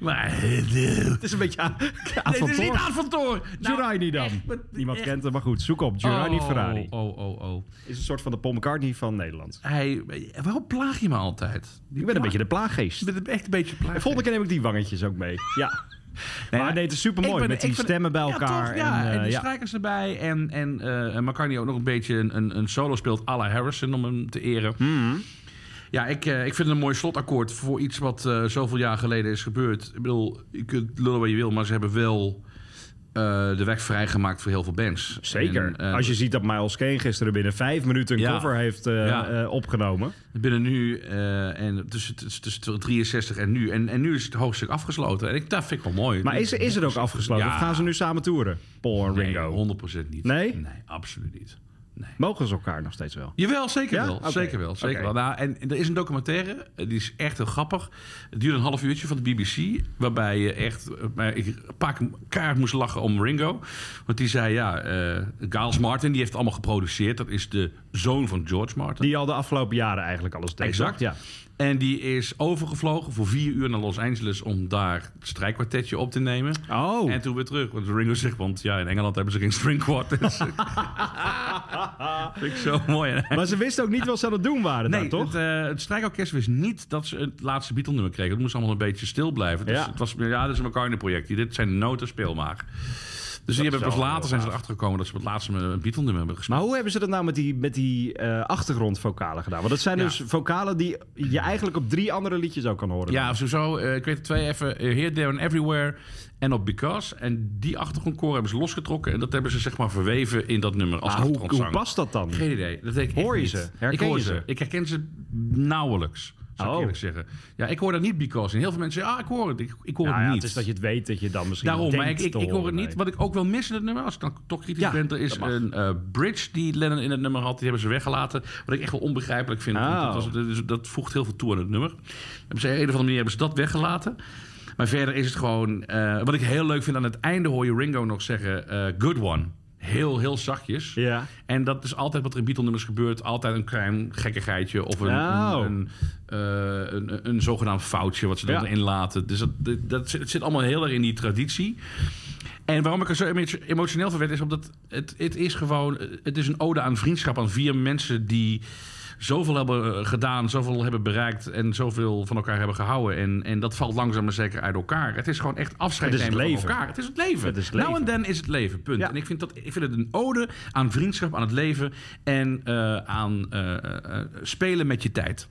[SPEAKER 3] Maar...
[SPEAKER 4] het is een beetje (laughs) aan, aan
[SPEAKER 3] Nee,
[SPEAKER 4] van
[SPEAKER 3] dit is niet
[SPEAKER 4] Toorn.
[SPEAKER 3] aan van Toorn. Nou,
[SPEAKER 4] Giuliani dan.
[SPEAKER 3] echt, wat-
[SPEAKER 4] Niemand
[SPEAKER 3] echt.
[SPEAKER 4] kent hem, maar goed. Zoek op. Giuliani Ferrari.
[SPEAKER 3] Oh, oh, oh.
[SPEAKER 4] Is een soort van de Paul McCartney van Nederland.
[SPEAKER 3] Hij, waarom plaag je me altijd?
[SPEAKER 4] Ik ben een beetje de plaaggeest.
[SPEAKER 3] Ik ben echt een beetje plaag.
[SPEAKER 4] Volgende keer neem ik die wangetjes ook mee. Ja. maar nee, het is super mooi met die stemmen bij elkaar.
[SPEAKER 3] Ja, toch? ja, en,
[SPEAKER 4] eh,
[SPEAKER 3] die
[SPEAKER 4] ja.
[SPEAKER 3] strijkers erbij. En, en eh, en McCartney ook nog een beetje een, een, een solo speelt à la Harrison om hem te eren.
[SPEAKER 4] Hmm.
[SPEAKER 3] Ja, ik, eh, ik vind het een mooi slotakkoord voor iets wat eh, zoveel jaar geleden is gebeurd. Ik bedoel, je kunt lullen waar je wil, maar ze hebben wel eh, de weg vrijgemaakt voor heel veel bands.
[SPEAKER 4] Zeker.
[SPEAKER 3] En, eh,
[SPEAKER 4] Als je ziet dat Miles Kane gisteren binnen vijf minuten een
[SPEAKER 3] Ja.
[SPEAKER 4] cover heeft eh,
[SPEAKER 3] Ja.
[SPEAKER 4] eh, opgenomen.
[SPEAKER 3] Binnen nu eh, en tussen, tussen, tussen 63 en nu. En, en nu is het hoofdstuk afgesloten. En ik, dat vind ik wel mooi.
[SPEAKER 4] Maar is, is het ook afgesloten?
[SPEAKER 3] Ja.
[SPEAKER 4] Of gaan ze nu samen toeren? Paul en Ringo.
[SPEAKER 3] Nee, 100% niet.
[SPEAKER 4] Nee?
[SPEAKER 3] Nee, absoluut niet.
[SPEAKER 4] Mogen ze elkaar nog steeds wel?
[SPEAKER 3] Jawel, zeker
[SPEAKER 4] Ja?
[SPEAKER 3] wel.
[SPEAKER 4] Oké.
[SPEAKER 3] Zeker wel, zeker
[SPEAKER 4] Oké.
[SPEAKER 3] wel. Nou, en, en er is een documentaire, eh, die is echt heel grappig. Het duurde een half uurtje van de BBC, waarbij je echt... eh, maar ik een paar keer kaart moest lachen om Ringo. Want die zei, ja, eh Giles Martin, die heeft het allemaal geproduceerd. Dat is de zoon van George Martin.
[SPEAKER 4] Die al de afgelopen jaren eigenlijk alles deed.
[SPEAKER 3] Exact.
[SPEAKER 4] Ja.
[SPEAKER 3] En die is overgevlogen voor vier uur naar Los Angeles om daar het strijkkwartetje op te nemen.
[SPEAKER 4] Oh.
[SPEAKER 3] En toen weer terug. Want Ringo zegt, want ja, in Engeland hebben ze geen
[SPEAKER 4] (laughs)
[SPEAKER 3] stringquartets. Vind ik zo mooi. En
[SPEAKER 4] Maar ze wisten ook niet wat ze aan het doen waren daar,
[SPEAKER 3] Nee,
[SPEAKER 4] toch?
[SPEAKER 3] Het, eh, het strijkorkest wist niet dat ze het laatste Beatle-nummer kregen. Het moest allemaal een beetje stil blijven. Dus
[SPEAKER 4] Ja.
[SPEAKER 3] het was, ja, dit is een McCartney-projectje. Dit zijn de noten, speel maar. Dus die hebben
[SPEAKER 4] wel
[SPEAKER 3] pas later
[SPEAKER 4] heel
[SPEAKER 3] zijn ze
[SPEAKER 4] gaaf.
[SPEAKER 3] erachter gekomen dat ze op het laatste een Beatle-nummer hebben gespeeld.
[SPEAKER 4] Maar hoe hebben ze dat nou met die, met die eh, achtergrondvocalen gedaan? Want dat zijn
[SPEAKER 3] Ja.
[SPEAKER 4] dus vocalen die je eigenlijk op drie andere liedjes ook kan horen.
[SPEAKER 3] Ja, sowieso. eh, ik weet het twee even. eh, Here, There and Everywhere en op Because. En die achtergrondkoor hebben ze losgetrokken. En dat hebben ze zeg maar verweven in dat nummer als
[SPEAKER 4] Maar hoe,
[SPEAKER 3] achtergrondzang.
[SPEAKER 4] hoe past dat dan?
[SPEAKER 3] Geen idee. Dat weet ik
[SPEAKER 4] Hoor je
[SPEAKER 3] echt
[SPEAKER 4] ze?
[SPEAKER 3] niet.
[SPEAKER 4] Herken
[SPEAKER 3] ik hoor
[SPEAKER 4] je ze?
[SPEAKER 3] Ik herken ze nauwelijks, zou ik
[SPEAKER 4] Oh.
[SPEAKER 3] eerlijk zeggen. Ja, ik hoor dat niet Because. En heel veel mensen zeggen, ah, ik hoor het. Ik, ik hoor
[SPEAKER 4] Nou
[SPEAKER 3] het
[SPEAKER 4] ja,
[SPEAKER 3] niet.
[SPEAKER 4] het is dat je het weet dat je dan misschien
[SPEAKER 3] Daarom, maar ik,
[SPEAKER 4] denkt
[SPEAKER 3] ik,
[SPEAKER 4] te
[SPEAKER 3] ik hoor het
[SPEAKER 4] horen,
[SPEAKER 3] niet.
[SPEAKER 4] nee.
[SPEAKER 3] Wat ik ook wel mis in het nummer, als ik dan toch kritisch
[SPEAKER 4] Ja,
[SPEAKER 3] ben, er is
[SPEAKER 4] dat mag.
[SPEAKER 3] een eh, bridge die Lennon in het nummer had. Die hebben ze weggelaten. Wat ik echt wel onbegrijpelijk vind. want
[SPEAKER 4] Oh.
[SPEAKER 3] Dat, was- dat is- dat voegt heel veel toe aan het nummer. Op een of andere manier hebben ze dat weggelaten. Maar verder is het gewoon... eh, wat ik heel leuk vind, aan het einde hoor je Ringo nog zeggen... eh, good one. Heel, heel zachtjes.
[SPEAKER 4] Ja.
[SPEAKER 3] En dat is altijd wat er in Beatle-nummers gebeurt. Altijd een klein gekkigheidje of een,
[SPEAKER 4] Oh.
[SPEAKER 3] een, een, eh, een, een zogenaamd foutje wat ze
[SPEAKER 4] Ja.
[SPEAKER 3] dan erin laten. Dus dat, dat, dat zit, het zit allemaal heel erg in die traditie. En waarom ik er zo emo- emotioneel van werd, is omdat het, het is gewoon... Het is een ode aan vriendschap, aan vier mensen die zoveel hebben eh, gedaan, zoveel hebben bereikt... en zoveel van elkaar hebben gehouden. En, en dat valt langzaam maar zeker uit elkaar. Het is gewoon echt afscheid
[SPEAKER 4] Het is het
[SPEAKER 3] nemen van
[SPEAKER 4] leven.
[SPEAKER 3] elkaar. Ah, Het is het leven.
[SPEAKER 4] Het is het
[SPEAKER 3] Nou
[SPEAKER 4] leven.
[SPEAKER 3] en dan is het leven, punt.
[SPEAKER 4] Ja.
[SPEAKER 3] En ik vind, dat, ik vind het een ode aan vriendschap, aan het leven... en eh, aan eh, eh, eh, spelen met je tijd.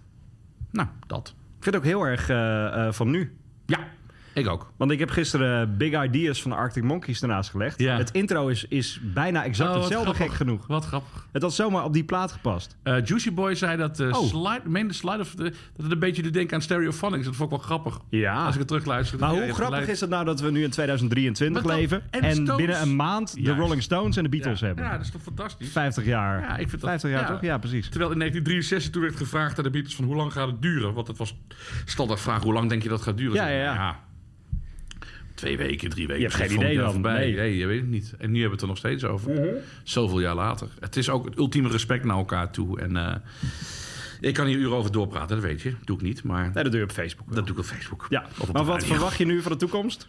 [SPEAKER 3] Nou, dat.
[SPEAKER 4] Ik vind het ook heel erg eh, eh, van nu.
[SPEAKER 3] Ja, ik ook.
[SPEAKER 4] Want ik heb gisteren eh, Big Ideas van de Arctic Monkeys ernaast gelegd.
[SPEAKER 3] Ja.
[SPEAKER 4] Het intro is, is bijna exact
[SPEAKER 3] Oh, wat
[SPEAKER 4] hetzelfde,
[SPEAKER 3] grappig.
[SPEAKER 4] gek genoeg.
[SPEAKER 3] Wat grappig.
[SPEAKER 4] Het had zomaar op die plaat gepast.
[SPEAKER 3] Eh, Juicy Boy zei dat eh
[SPEAKER 4] Oh.
[SPEAKER 3] slide, meen de slide of de, dat het een beetje doet denken aan Stereophonics. Dat vond ik wel grappig.
[SPEAKER 4] Ja.
[SPEAKER 3] Als ik het terugluister.
[SPEAKER 4] Maar
[SPEAKER 3] Ja,
[SPEAKER 4] hoe
[SPEAKER 3] je hebt
[SPEAKER 4] grappig
[SPEAKER 3] gelijk.
[SPEAKER 4] is het nou dat we nu in 2023
[SPEAKER 3] Maar dat-
[SPEAKER 4] leven...
[SPEAKER 3] en
[SPEAKER 4] en,
[SPEAKER 3] de Stones.
[SPEAKER 4] binnen een maand de
[SPEAKER 3] Juist.
[SPEAKER 4] Rolling Stones en de Beatles
[SPEAKER 3] ja.
[SPEAKER 4] hebben?
[SPEAKER 3] Ja, dat is toch fantastisch.
[SPEAKER 4] 50 jaar.
[SPEAKER 3] Ja, ik vind dat-
[SPEAKER 4] 50 jaar
[SPEAKER 3] ja.
[SPEAKER 4] toch? Ja, precies.
[SPEAKER 3] Terwijl in 1963 toen werd gevraagd aan de Beatles van hoe lang gaat het duren? Want dat was standaardvraag, hoe lang denk je dat gaat duren?
[SPEAKER 4] Ja,
[SPEAKER 3] Zeg,
[SPEAKER 4] ja, ja.
[SPEAKER 3] Twee weken, drie weken.
[SPEAKER 4] Je hebt geen
[SPEAKER 3] Volgend
[SPEAKER 4] idee
[SPEAKER 3] jaar
[SPEAKER 4] dan,
[SPEAKER 3] Voorbij. Nee.
[SPEAKER 4] nee. Mhm.
[SPEAKER 3] je weet het niet. En nu hebben we het er nog steeds over. Zoveel jaar later. Het is ook het ultieme respect naar elkaar toe. En eh, ik kan hier uren over doorpraten, dat weet je. doe ik niet, maar
[SPEAKER 4] Nee, dat doe je op Facebook. wel.
[SPEAKER 3] dat doe ik op Facebook.
[SPEAKER 4] Ja.
[SPEAKER 3] Of op
[SPEAKER 4] Maar
[SPEAKER 3] de
[SPEAKER 4] wat
[SPEAKER 3] radio.
[SPEAKER 4] verwacht je nu van de toekomst?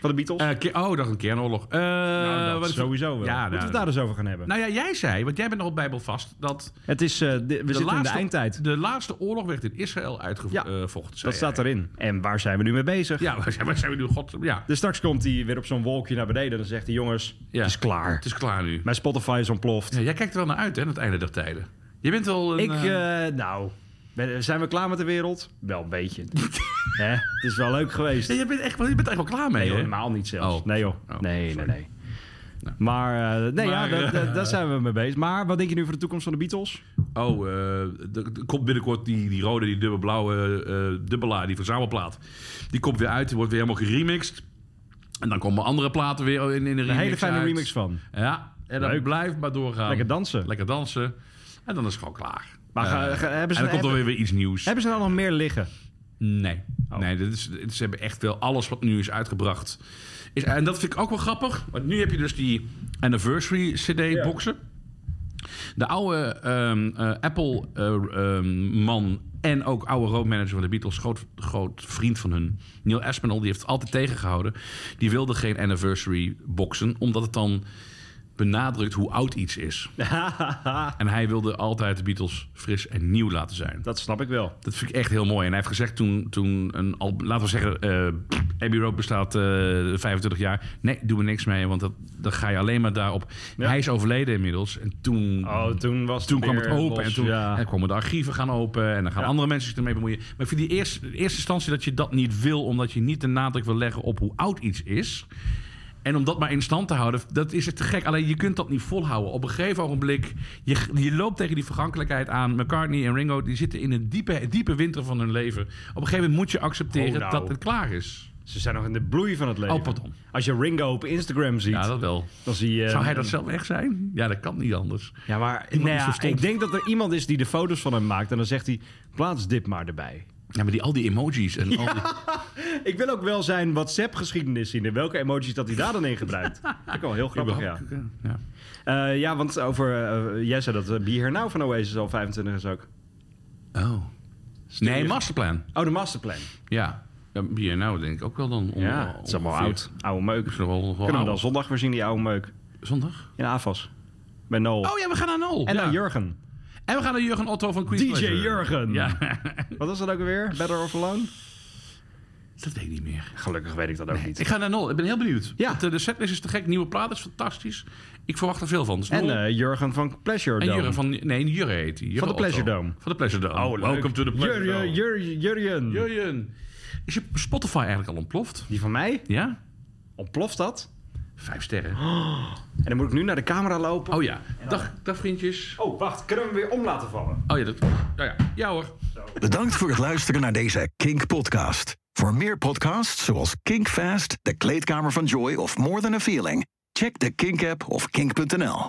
[SPEAKER 4] Van de Beatles?
[SPEAKER 3] Eh, ke- oh, dat is een kernoorlog. Eh,
[SPEAKER 4] Nou,
[SPEAKER 3] wat
[SPEAKER 4] dat
[SPEAKER 3] ik-
[SPEAKER 4] sowieso wel.
[SPEAKER 3] Ja, nou,
[SPEAKER 4] Moeten we het daar eens over gaan hebben?
[SPEAKER 3] Nou ja, jij zei, want jij bent nog op Bijbelvast, dat
[SPEAKER 4] het is, eh, de- we zitten in de eindtijd.
[SPEAKER 3] De laatste oorlog werd in Israël eh,
[SPEAKER 4] Ja,
[SPEAKER 3] uitgevochten.
[SPEAKER 4] dat staat erin. En waar zijn we nu mee bezig?
[SPEAKER 3] Ja, waar zijn, waar zijn we nu? God, ja,
[SPEAKER 4] Dus straks komt hij weer op zo'n wolkje naar beneden en dan zegt hij... jongens,
[SPEAKER 3] Ja.
[SPEAKER 4] het is klaar.
[SPEAKER 3] het is klaar nu.
[SPEAKER 4] Mijn Spotify is ontploft.
[SPEAKER 3] Ja, jij kijkt er wel naar uit, hè, aan het einde der tijden. Je bent wel een...
[SPEAKER 4] Ik,
[SPEAKER 3] eh,
[SPEAKER 4] eh, nou, ben- zijn we klaar met de wereld? Wel een
[SPEAKER 3] (laughs)
[SPEAKER 4] beetje. Hè? Het is wel leuk geweest.
[SPEAKER 3] ja, je, bent echt, wel- je bent echt wel klaar mee,
[SPEAKER 4] Nee,
[SPEAKER 3] hè?
[SPEAKER 4] helemaal niet zelfs.
[SPEAKER 3] Oh.
[SPEAKER 4] Nee joh.
[SPEAKER 3] Oh,
[SPEAKER 4] nee, nee,
[SPEAKER 3] sorry. Nou.
[SPEAKER 4] nee. Maar, eh, nee,
[SPEAKER 3] Maar,
[SPEAKER 4] ja,
[SPEAKER 3] eh,
[SPEAKER 4] daar- daar- daar zijn we mee bezig. Maar wat denk je nu voor de toekomst van de Beatles?
[SPEAKER 3] Oh, eh, er er komt binnenkort die, die rode, die dubbelblauwe eh dubbelaar, die verzamelplaat. Die komt weer uit, die wordt weer helemaal geremixed. En dan komen andere platen weer in, in een remix
[SPEAKER 4] Een hele fijne
[SPEAKER 3] uit.
[SPEAKER 4] remix van.
[SPEAKER 3] Ja, en dat
[SPEAKER 4] Leuk.
[SPEAKER 3] blijft maar doorgaan.
[SPEAKER 4] Lekker dansen.
[SPEAKER 3] Lekker dansen. En dan is het gewoon klaar.
[SPEAKER 4] Maar ga-
[SPEAKER 3] Eh,
[SPEAKER 4] ga- hebben ze-
[SPEAKER 3] en dan komt er weer
[SPEAKER 4] hebben-
[SPEAKER 3] weer iets nieuws.
[SPEAKER 4] Hebben ze nou nog meer liggen? (laughs)
[SPEAKER 3] Nee. nee dit is, dit- ze hebben echt wel alles wat nu is uitgebracht. Is, en dat vind ik ook wel grappig. Want nu heb je dus die anniversary CD-boxen. De oude ehm, eh, Apple-man ehm, en ook oude roadmanager van de Beatles, groot, groot vriend van hun, Neil Aspinall, die heeft het altijd tegengehouden. Die wilde geen anniversary boxen, omdat het dan benadrukt hoe oud iets is. en hij wilde altijd de Beatles fris en nieuw laten zijn.
[SPEAKER 4] Dat snap ik wel.
[SPEAKER 3] Dat vind ik echt heel mooi. En hij heeft gezegd toen, toen een, al, laten we zeggen, eh Abbey Road bestaat eh, 25 jaar. Nee, doen we niks mee, want dat, dan ga je alleen maar daarop.
[SPEAKER 4] Ja.
[SPEAKER 3] Hij is overleden inmiddels. En toen,
[SPEAKER 4] Oh, toen was
[SPEAKER 3] toen kwam het
[SPEAKER 4] weer
[SPEAKER 3] open.
[SPEAKER 4] los,
[SPEAKER 3] en toen
[SPEAKER 4] ja.
[SPEAKER 3] en kwamen de archieven gaan open. En dan gaan
[SPEAKER 4] Ja.
[SPEAKER 3] andere mensen zich ermee bemoeien. Maar ik vind die eerste, in eerste instantie dat je dat niet wil, omdat je niet de nadruk wil leggen op hoe oud iets is. En om dat maar in stand te houden, dat is het te gek. Alleen je kunt dat niet volhouden. Op een gegeven ogenblik, je, je loopt tegen die vergankelijkheid aan. McCartney en Ringo, die zitten in een diepe, diepe winter van hun leven. Op een gegeven moment moet je accepteren
[SPEAKER 4] Oh, nou.
[SPEAKER 3] dat het klaar is.
[SPEAKER 4] Ze zijn nog in de bloei van het leven.
[SPEAKER 3] Oh, pardon.
[SPEAKER 4] Als je Ringo op Instagram ziet,
[SPEAKER 3] Ja, dat wel.
[SPEAKER 4] dan zie je... eh,
[SPEAKER 3] Zou hij dat zelf echt zijn? Ja, dat kan niet anders.
[SPEAKER 4] Ja, maar
[SPEAKER 3] Iemand
[SPEAKER 4] nou
[SPEAKER 3] is zo
[SPEAKER 4] ja,
[SPEAKER 3] stom.
[SPEAKER 4] ik denk dat er iemand is die de foto's van hem maakt. En dan zegt hij, plaats dit maar erbij.
[SPEAKER 3] Ja, maar die, al die emojis en al die...
[SPEAKER 4] Ik wil ook wel zijn WhatsApp-geschiedenis zien. En welke emojis dat hij daar dan in (laughs) gebruikt. Dat vind ik wel heel grappig, ja.
[SPEAKER 3] überhaupt- ja.
[SPEAKER 4] Eh, ja, want over... eh, jij zei dat eh, Be Here Now van Oasis al 25 is ook.
[SPEAKER 3] Oh. Nee, masterplan.
[SPEAKER 4] Oh, de masterplan.
[SPEAKER 3] Ja. ja hier nou denk ik ook wel dan. om-
[SPEAKER 4] Ja, het Oh, is allemaal
[SPEAKER 3] ongeveer.
[SPEAKER 4] oud. Oude meuk.
[SPEAKER 3] Is nog wel, wel
[SPEAKER 4] Kunnen we dan
[SPEAKER 3] oud.
[SPEAKER 4] zondag weer zien, die oude meuk.
[SPEAKER 3] zondag?
[SPEAKER 4] In AFAS. Bij Noel.
[SPEAKER 3] Oh ja, we gaan naar Nol.
[SPEAKER 4] en
[SPEAKER 3] ja.
[SPEAKER 4] dan Jurgen.
[SPEAKER 3] En we gaan naar Jurgen Otto van Queen's
[SPEAKER 4] DJ
[SPEAKER 3] Pleasure.
[SPEAKER 4] Jurgen.
[SPEAKER 3] Ja. (laughs)
[SPEAKER 4] Wat was dat ook alweer? Better of Alone?
[SPEAKER 3] dat weet ik niet meer.
[SPEAKER 4] Gelukkig weet ik dat ook niet.
[SPEAKER 3] Ik ga naar Nol. Ik ben heel benieuwd.
[SPEAKER 4] Ja.
[SPEAKER 3] Want, eh, de setlist is te gek. Nieuwe plaat is fantastisch. Ik verwacht er veel van. Dus
[SPEAKER 4] En
[SPEAKER 3] Nol
[SPEAKER 4] eh, Jurgen van Pleasure
[SPEAKER 3] en
[SPEAKER 4] Dome.
[SPEAKER 3] Jurgen van... Nee, Jurgen heet hij.
[SPEAKER 4] Van de Pleasure Dome.
[SPEAKER 3] Van de Pleasure Dome.
[SPEAKER 4] Oh, leuk.
[SPEAKER 3] Welcome to the Pleasure
[SPEAKER 4] Jur-
[SPEAKER 3] Dome.
[SPEAKER 4] Jur- Jurjen.
[SPEAKER 3] Jurgen. Is je Spotify eigenlijk al ontploft?
[SPEAKER 4] Die van mij?
[SPEAKER 3] Ja?
[SPEAKER 4] Ontploft dat?
[SPEAKER 3] Vijf sterren.
[SPEAKER 4] En dan moet ik nu naar de camera lopen.
[SPEAKER 3] Oh ja. Dag, dag vriendjes.
[SPEAKER 4] Oh, wacht. Kunnen we hem weer om laten vallen?
[SPEAKER 3] Oh ja, dat... Ja, ja. ja hoor.
[SPEAKER 1] Bedankt voor het luisteren naar deze Kink podcast. Voor meer podcasts zoals Kink Fast, De Kleedkamer van Joy of More Than a Feeling, check de Kink app of kink.nl.